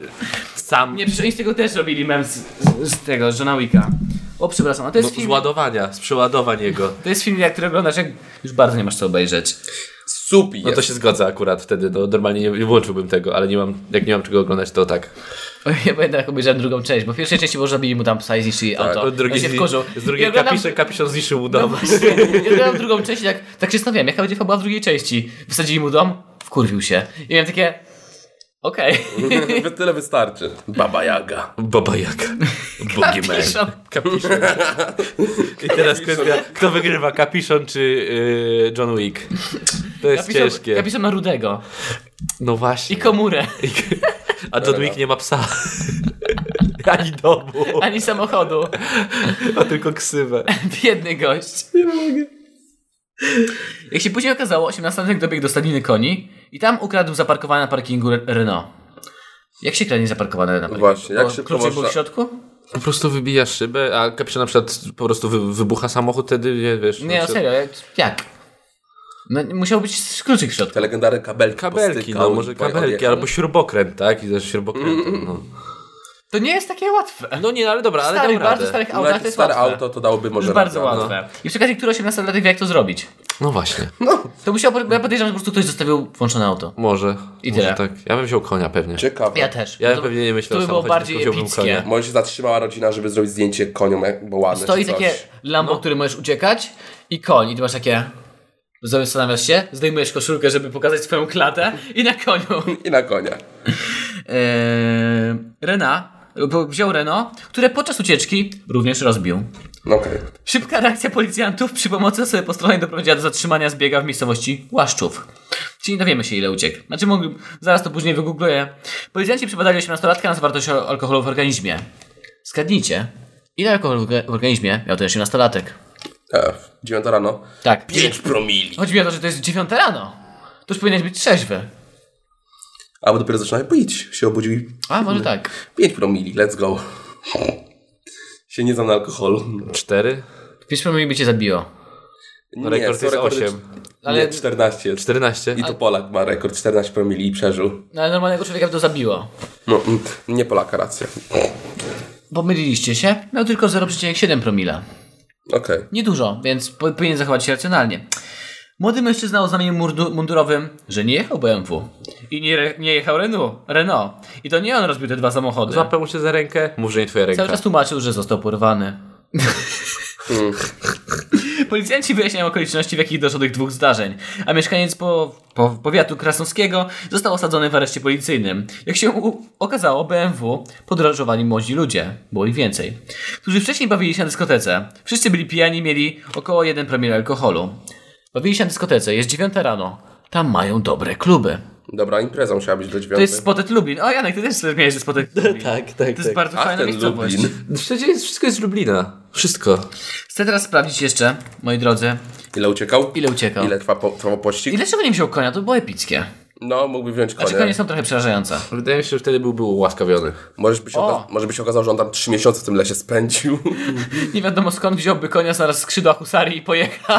S2: sam...
S1: Nie, przecież oni z tego też robili mem z, z, z tego, z Johna Wicka. O, przepraszam, a to
S2: No,
S1: jest
S2: z
S1: film...
S2: ładowania, z przeładowań jego.
S1: To jest film, jak który oglądasz, jak już bardzo nie masz co obejrzeć.
S3: Supi
S2: No
S3: jest.
S2: to się zgadza akurat wtedy, no normalnie nie, nie włączyłbym tego, ale nie mam, jak nie mam czego oglądać, to tak.
S1: O, Ja pamiętam, jak obejrzałem drugą część, bo w pierwszej części może zabili mu tam psa i zniszczyli auto.
S2: Od drugiej,
S1: On No, się wkurzył.
S2: z drugiej
S1: I oglądam-
S2: kapisze, kapiszon zniszczył mu
S1: No
S2: dom.
S1: właśnie, ja oglądam drugą część i tak, tak się zastanawiałem, jaka będzie fabuła w drugiej części. Wysadzili mu dom, wkurwił się. I miałem takie... Okej.
S3: Tyle wystarczy. Baba Jaga.
S2: Baba Jaga. Boogeyman.
S1: Kapiszon.
S2: Kapiszon. I teraz kwestia, kto wygrywa, Kapiszon czy yy, John Wick? To jest ciężkie.
S1: Kapiszon ma rudego.
S2: No właśnie.
S1: I komórę.
S2: A John Wick nie ma psa. Ani domu,
S1: Ani samochodu.
S2: a tylko ksywę.
S1: Biedny gość. Nie mogę. Jak się później okazało, 18 dobiegł do stadniny koni i tam ukradł zaparkowane na parkingu Re- Renault. Jak się kradnie zaparkowane na parkingu?
S3: Właśnie, jak
S1: Bo
S3: szybko
S1: Kluczyk był
S3: można-
S1: w środku?
S2: Po prostu wybijasz szybę, a Kapiszon na przykład po prostu wy, wybucha samochód, wtedy nie wiesz.
S1: Nie, no
S2: się-
S1: serio, jak- jak? No, musiał być kluczyk w środku.
S3: Te legendarne kabelki.
S2: Kabelki,
S3: postykał
S2: no
S3: i
S2: może
S3: poje-
S2: kabelki,
S3: odjechał.
S2: albo śrubokręt, tak? I też śrubokrętem, no.
S1: To nie jest takie łatwe.
S2: No nie, ale dobra,
S1: Ale
S2: ale
S1: starych,
S2: dał
S1: bardzo
S2: radę.
S1: starych
S3: No
S1: autach to
S3: jakieś
S1: jest
S3: stare
S1: łatwe.
S3: auto to dałoby może
S1: Już bardzo
S3: radę, no. ale-
S1: łatwe. I przy okazji, który 18-latek wie jak to zrobić.
S2: No właśnie,
S1: To musiał, ja podejrzewam, że po prostu ktoś zostawił włączone auto.
S2: może.
S1: I
S2: może
S1: tyle.
S2: tak. Ja bym wziął konia pewnie.
S3: Ciekawe.
S1: Ja też.
S2: Ja
S1: to,
S2: pewnie nie
S1: To
S2: myślał
S1: by
S2: o
S1: było
S2: samochodzie,
S1: bardziej
S2: tylko wziąłbym
S1: epickie.
S2: konia.
S3: Może się zatrzymała rodzina, żeby zrobić zdjęcie koniom, jak- bo ładne
S1: Stoi
S3: czy
S1: takie
S3: coś.
S1: lambo, który możesz uciekać i koń. I ty masz takie... Zastanawiasz się, zdejmujesz koszulkę, żeby pokazać swoją klatę i na koniu.
S3: I na konia.
S1: Eee, Rena, bo wziął Reno, które podczas ucieczki również rozbił.
S3: No okej.
S1: Szybka reakcja policjantów przy pomocy osoby postronnej doprowadziła do zatrzymania zbiega w miejscowości Łaszczów. Czyli nie dowiemy się ile uciekł. Znaczy mogli... zaraz to później wygoogluję. Policjanci przebadali 18-latka na zawartość o- alkoholu w organizmie. Skadnijcie, ile alkoholu w orga- w organizmie miał ten 18-latek?
S3: E, Dziewiąta rano.
S1: Tak.
S3: Pięć promili.
S1: Chodzi mi o to, że to jest 9 rano. To już powinieneś być trzeźwy.
S3: Albo dopiero zaczynałem pić. Się obudził i
S1: A, może tak.
S3: 5 promili, let's go. Się nie znam na alkoholu.
S2: Cztery?
S1: Wiesz, pewnie by cię zabiło.
S3: Nie,
S2: No, rekord
S3: są
S2: jest
S3: rekordy-
S2: osiem.
S1: Ale-
S3: Nie, 14 jest.
S2: Czternaście?
S3: I tu Polak ma rekord 14 promili i przeżył.
S1: No, ale normalnego człowieka by to zabiło.
S3: No, mm, nie Polaka, racja.
S1: Pomyliliście się? Miał tylko 0,7 promila.
S3: Okej.
S1: Niedużo, więc po- powinien zachować się racjonalnie. Młody mężczyzna o znamieniu murdu- mundurowym, że nie jechał BMW i nie, re- nie jechał Renault, Renault. I to nie on rozbił te dwa samochody.
S2: Złapę mu się za rękę, mów, że nie twoja
S1: Cały
S2: ręka.
S1: czas tłumaczył, że został porwany. Policjanci wyjaśniają okoliczności, w jakich doszło do tych dwóch zdarzeń, a mieszkaniec po, po, powiatu krasnowskiego został osadzony w areszcie policyjnym. Jak się u, okazało, BMW podróżowali młodzi ludzie, było ich więcej, którzy wcześniej bawili się na dyskotece. Wszyscy byli pijani, mieli około 1 promil alkoholu. Bawili się na dyskotece, jest 9 rano. Tam mają dobre kluby.
S3: Dobra, impreza musiała być do 9.
S1: To jest Spotet Lublin. O Janek, ty też miałeś ze Spotet Lublin.
S2: Tak, tak,
S1: To
S2: tak.
S1: jest bardzo
S3: Ach,
S1: fajna
S3: ten
S1: miejscowość.
S3: Lublin.
S2: Przecież jest, wszystko jest z Lublina. Wszystko.
S1: Chcę teraz sprawdzić jeszcze, moi drodzy,
S3: Ile uciekał?
S1: ile uciekał.
S3: Ile trwa, po, trwał pościg?
S1: I dlaczego nie wziął konia? To było epickie.
S3: No, mógłby wziąć
S1: Znaczy
S3: konia.
S1: konie są trochę przerażające.
S2: Wydaje mi się, że wtedy był, był ułaskawiony.
S3: Możesz by się
S1: O!
S3: oka- może by się okazało, że on tam 3 miesiące w tym lesie spędził.
S1: Nie wiadomo skąd wziąłby konia zaraz skrzydła husarii i pojechał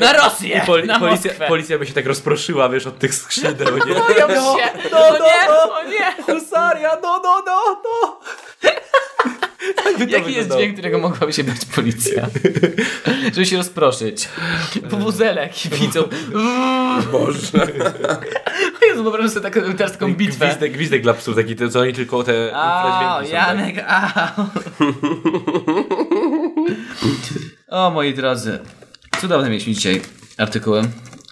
S1: na Rosję, na
S2: policja,
S1: Moskwę.
S2: policja by się tak rozproszyła, wiesz, od tych skrzydeł, nie?
S1: Boją się. No, o nie, o nie.
S2: Husaria, no, no, no, no! Tak
S1: Jaki jest dźwięk, którego mogłaby się bać policja? Żeby się rozproszyć. Powózelek widzą.
S3: Boże.
S1: Jezu, wyobrażam sobie taką, teraz taką bitwę.
S2: Gwizdek, gwizdek dla psów, taki, to, co oni tylko te...
S1: A,
S2: infradźwięki są, tak?
S1: Janek, a. O, moi drodzy. Cudowne mieliśmy dzisiaj artykuły.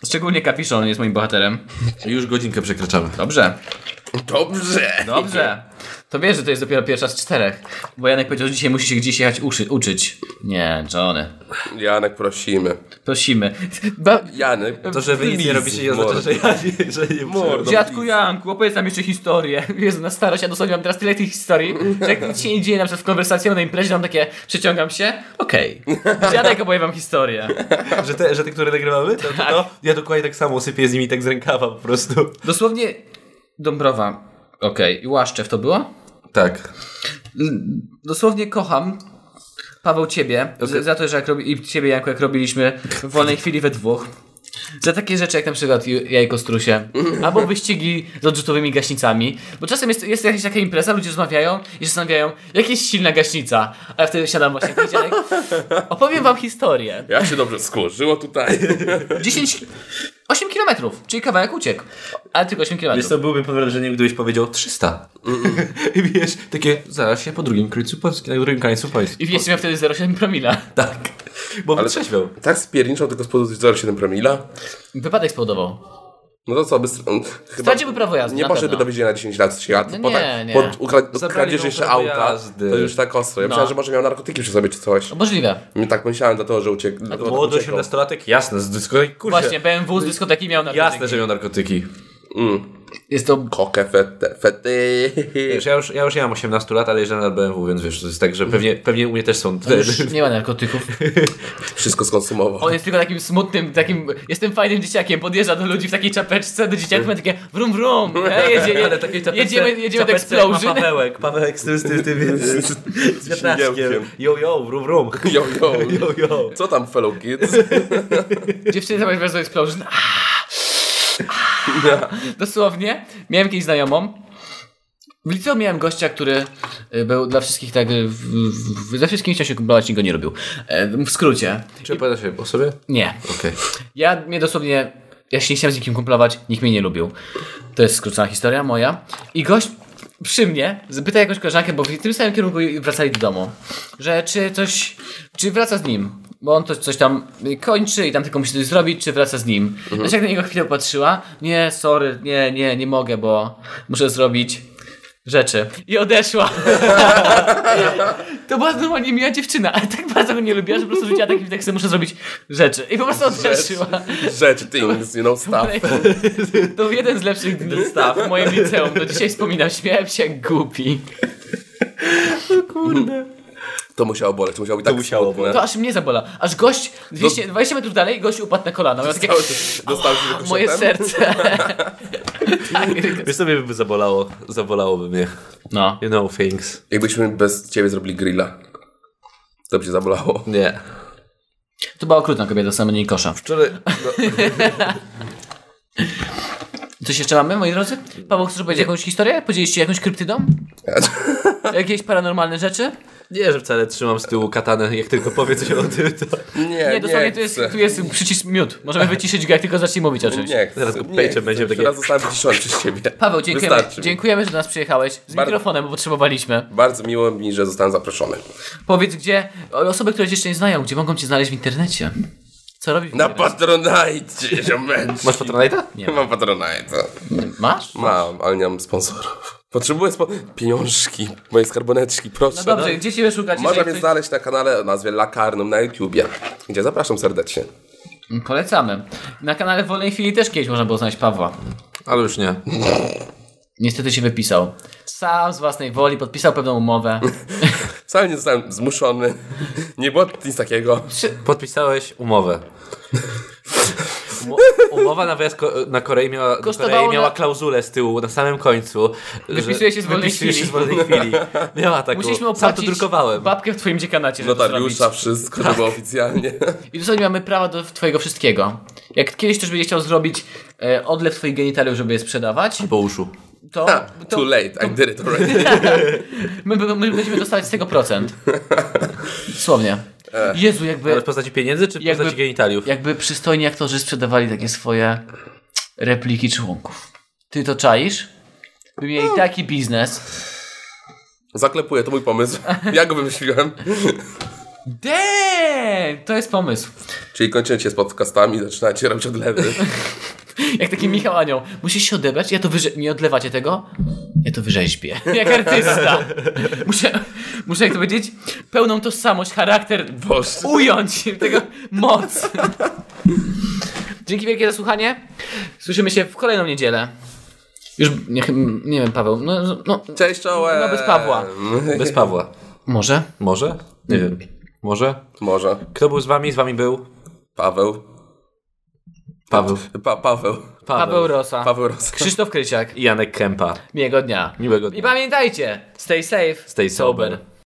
S1: Szczególnie Kapiszon jest moim bohaterem.
S2: Już godzinkę przekraczamy.
S1: Dobrze,
S3: Dobrze.
S1: dobrze. To wiesz, że to jest dopiero pierwsza z czterech. Bo Janek powiedział, że dzisiaj musi się gdzieś jechać uszy, uczyć. Nie, Johnny.
S3: Janek, prosimy.
S1: Prosimy. Ba-
S3: Janek,
S2: To, że wy nic nie robicie, nie oznacza, że ja nie, że nie
S3: mordo.
S1: Dziadku Janku, opowiedz nam jeszcze historię. Jezu, na starość, ja dosłownie mam teraz tyle tych historii, że jak nic się nie dzieje na przykład w konwersacji na imprezie, mam takie, przeciągam się, okej. Dziadek opowie wam historię.
S2: Że te, że te, które nagrywamy, to, to, to ja dokładnie tak samo sypię z nimi tak z rękawa po prostu.
S1: Dosłownie, Dąbrowa, okej, i Łaszczew to było?
S4: Tak.
S1: Dosłownie kocham Paweł ciebie z, za to, że jak robi, i ciebie Janku, jak robiliśmy w wolnej chwili we dwóch. Za takie rzeczy jak na przykład ju- jajko strusie, albo wyścigi z odrzutowymi gaśnicami. Bo czasem jest, jest jakaś taka impreza, ludzie rozmawiają i się zastanawiają, jak jest silna gaśnica. A ja wtedy siadam właśnie i Janek, opowiem wam historię.
S3: ja się dobrze skurzyło tutaj.
S1: 10, 8 kilometrów, czyli kawałek uciekł. Ale tylko 8
S2: Wiesz
S1: kilometrów.
S2: co, byłbym pod wrażeniem, gdybyś powiedział 300. I wiesz, takie, zaraz się po drugim końcu Polski, na drugim końcu Polski.
S1: I wiecie, miał wtedy 0,7 promila.
S2: Tak. Bo Ale... trzeźwiał.
S3: tak spierniczą tylko z powodu 0,7 promila.
S1: Wypadek spowodował.
S3: No to co, by... str- Chyba
S1: Straciłby prawo jazdy,
S3: Nie
S1: na
S3: poszedłby do
S1: pewno.
S3: więzienia na 10 lat, 3 lat.
S1: No
S3: po
S1: nie,
S3: tak,
S1: nie.
S3: Po ukra-
S2: Zabrali
S3: kradzież
S2: mu
S3: jeszcze
S2: prawo
S3: auta,
S2: jazdy.
S3: to już tak
S1: No.
S3: ostro. Ja myślałem, że może miał narkotyki przy sobie czy coś.
S1: Możliwe.
S3: My tak myślałem dlatego, że uciekł. dlatego tak
S2: Młody
S3: uciekał.
S2: 18-latek, jasne, z dyskoteki, kurczę.
S1: Właśnie, BMW z dyskoteki miał na
S2: Jasne, że miał narkotyki.
S1: Jest to
S3: Kokę, fety, fety.
S2: Wiesz, ja już, ja już nie mam 18 lat, ale jeżdżę na BMW, więc wiesz, to jest tak, że pewnie, pewnie u mnie też są...
S1: Już nie ma narkotyków.
S3: Wszystko skonsumował.
S1: On jest tylko takim smutnym, takim. Jestem fajnym dzieciakiem. Podjeżdża do ludzi w takiej czapeczce, do dzieciaków ma takie wrum wrum. E, jedziemy, ale takie czapeczce, jedziemy, jedziemy do explosion.
S2: Pawełek, Pawełek z tym, z tym, z tym, z, z, z wiatraczkiem.
S3: śmigiełkiem.
S2: Yo, yo, wrum, wrum.
S3: Yo, yo.
S2: Yo, yo.
S3: Co tam, fellow kids?
S1: Dziewczyny zapraszają do explosion. Ah, ah. Dosłownie. Miałem kiedyś znajomą. W liceum miałem gościa, który y, był dla wszystkich tak. y, W, w, w, ze wszystkimi chciał się kumplować, nikt go nie robił. E, W skrócie.
S2: Czy opowiadasz się o sobie?
S1: Nie.
S2: Okej.
S1: Ja mnie dosłownie. Ja się nie chciałem z nikim kumplować, nikt mnie nie lubił. To jest skrócona historia moja. I gość przy mnie zapyta jakąś koleżankę, bo w tym samym kierunku wracali do domu, że czy coś. Czy wraca z nim? Bo on to coś tam kończy i tam tylko musi coś zrobić, czy wraca z nim. Mhm. Znaczy, jak na niego chwilę patrzyła, nie, sorry, nie, nie, nie mogę, bo muszę zrobić rzeczy. I odeszła. to była normalnie miła dziewczyna, ale tak bardzo go nie lubiła, że po prostu rzuciła takim tekstem, muszę zrobić rzeczy. I po prostu odeszła.
S3: Rzeczy, things, you know, stuff.
S1: To był jeden z lepszych dni staw w moim liceum. Do dzisiaj wspominam, śmiałem się jak głupi.
S3: To musiało boleć, to musiało być tak
S2: musiało
S3: smutne.
S1: To aż mnie zabola. Aż gość 200, 20 metrów dalej, gość upadł na kolana. Miał takie,
S3: No. Cały Dostał się tylko
S1: moje
S3: szotem.
S1: serce. tak.
S2: Wiesz, sobie by zabolało, zabolałoby mnie.
S1: No.
S2: You know things.
S3: Jakbyśmy bez ciebie zrobili grilla. To by się zabolało.
S2: Nie.
S1: To była okrutna kobieta, sama nie kosza.
S2: Wczoraj...
S1: Coś jeszcze mamy, moi drodzy? Paweł, chcesz powiedzieć jakąś historię? Podzieliście jakąś kryptydą? Jakieś paranormalne rzeczy?
S2: Nie, że wcale trzymam z tyłu katanę, jak tylko powie coś o tym, to...
S3: Nie,
S1: Nie,
S3: nie,
S1: dosłownie tu jest,
S3: chcę.
S1: tu jest przycisk miód. Możemy wyciszyć go, jak tylko zacznie mówić oczywiście.
S3: Nie chcę.
S2: Zaraz go
S3: nie
S2: pejczem
S3: chcę.
S2: będziemy takie-
S3: Teraz zostałem wyciszony przez ciebie.
S1: Paweł, dziękujemy,
S3: Wystarczy mi.
S1: dziękujemy, że do nas przyjechałeś. Z
S3: Bardzo.
S1: mikrofonem, bo potrzebowaliśmy.
S3: Bardzo miło mi, że zostałem zaproszony.
S1: Powiedz, gdzie osoby, które cię jeszcze nie znają, gdzie mogą cię znaleźć w internecie? Co robisz? w
S3: Na
S1: internecie?
S3: Patronite, ziomeczki.
S2: Masz patronajta?
S1: Nie.
S3: Mam Patronite.
S1: Masz?
S3: Mam, ale nie mam sponsorów. Potrzebuję spo... pieniążki, moje skarboneczki, proszę.
S1: No dobrze, gdzie ciebie szukać?
S3: Można
S1: jeżeli
S3: mnie
S1: coś-
S3: znaleźć na kanale o nazwie Lakarnum na YouTubie, gdzie zapraszam serdecznie.
S1: Polecamy. Na kanale w wolnej chwili też kiedyś można było znaleźć Pawła.
S2: Ale już nie.
S1: Niestety się wypisał. Sam z własnej woli podpisał pewną umowę.
S3: Wcale nie zostałem zmuszony, nie było nic takiego.
S2: Podpisałeś umowę. Umo- Umowa na wyjazd ko- na Korei miała, do
S1: Kosztowało
S2: Korei miała
S1: na-
S2: klauzulę z tyłu, na samym końcu. że
S1: Wypisuje się z wolnej
S2: wypisuje
S1: chwili.
S2: się z wolnej chwili. Miała taką.
S1: Musieliśmy
S2: Sam to
S1: opłacić
S2: drukowałem.
S1: babkę w twoim dziekanacie, żeby to zrobić. Tak.
S3: Notariusza, wszystko, to było oficjalnie.
S1: I dosłownie mamy prawa do twojego wszystkiego. Jak kiedyś też będzie chciał zrobić e, odlew twoich genitaliów, żeby je sprzedawać,
S2: Po uszu.
S1: to, to
S3: Too late, I did it already.
S1: my, my, my będziemy dostawać z tego procent. Dosłownie. Jezu,
S2: Ale
S1: jakby,
S2: w postaci pieniędzy czy w
S1: Jakby-
S2: postaci genitaliów?
S1: jakby przystojni aktorzy sprzedawali takie swoje repliki członków. Ty to czaisz? By mieli taki biznes.
S3: Zaklepuję, to mój pomysł. Ja go wymyśliłem.
S1: Damn! To jest pomysł.
S3: Czyli kończycie z podcastami, zaczynacie robić odlewy.
S1: Jak taki Michał Anioł. Musisz się odebrać, ja to wyżej. Nie odlewacie tego? Ja to wyrzeźbię. Jak artysta. Muszę, muszę jak to powiedzieć, pełną tożsamość, charakter ująć tego moc. Dzięki wielkie za słuchanie. Słyszymy się w kolejną niedzielę. Już, nie, nie wiem, Paweł, no, no
S3: Cześć, czołem!
S1: No, bez Pawła.
S2: Bez Pawła.
S1: może?
S2: Może? Nie wiem. Może?
S3: Może.
S2: Kto był z wami? Z wami był?
S3: Paweł.
S2: Paweł.
S3: Pa Paweł.
S1: Paweł Rosa.
S3: Paweł Rosa.
S1: Krzysztof Krysiak.
S2: I Janek Kępa.
S1: Miłego dnia.
S2: Miłego dnia.
S1: I pamiętajcie, stay safe,
S2: Stay sober.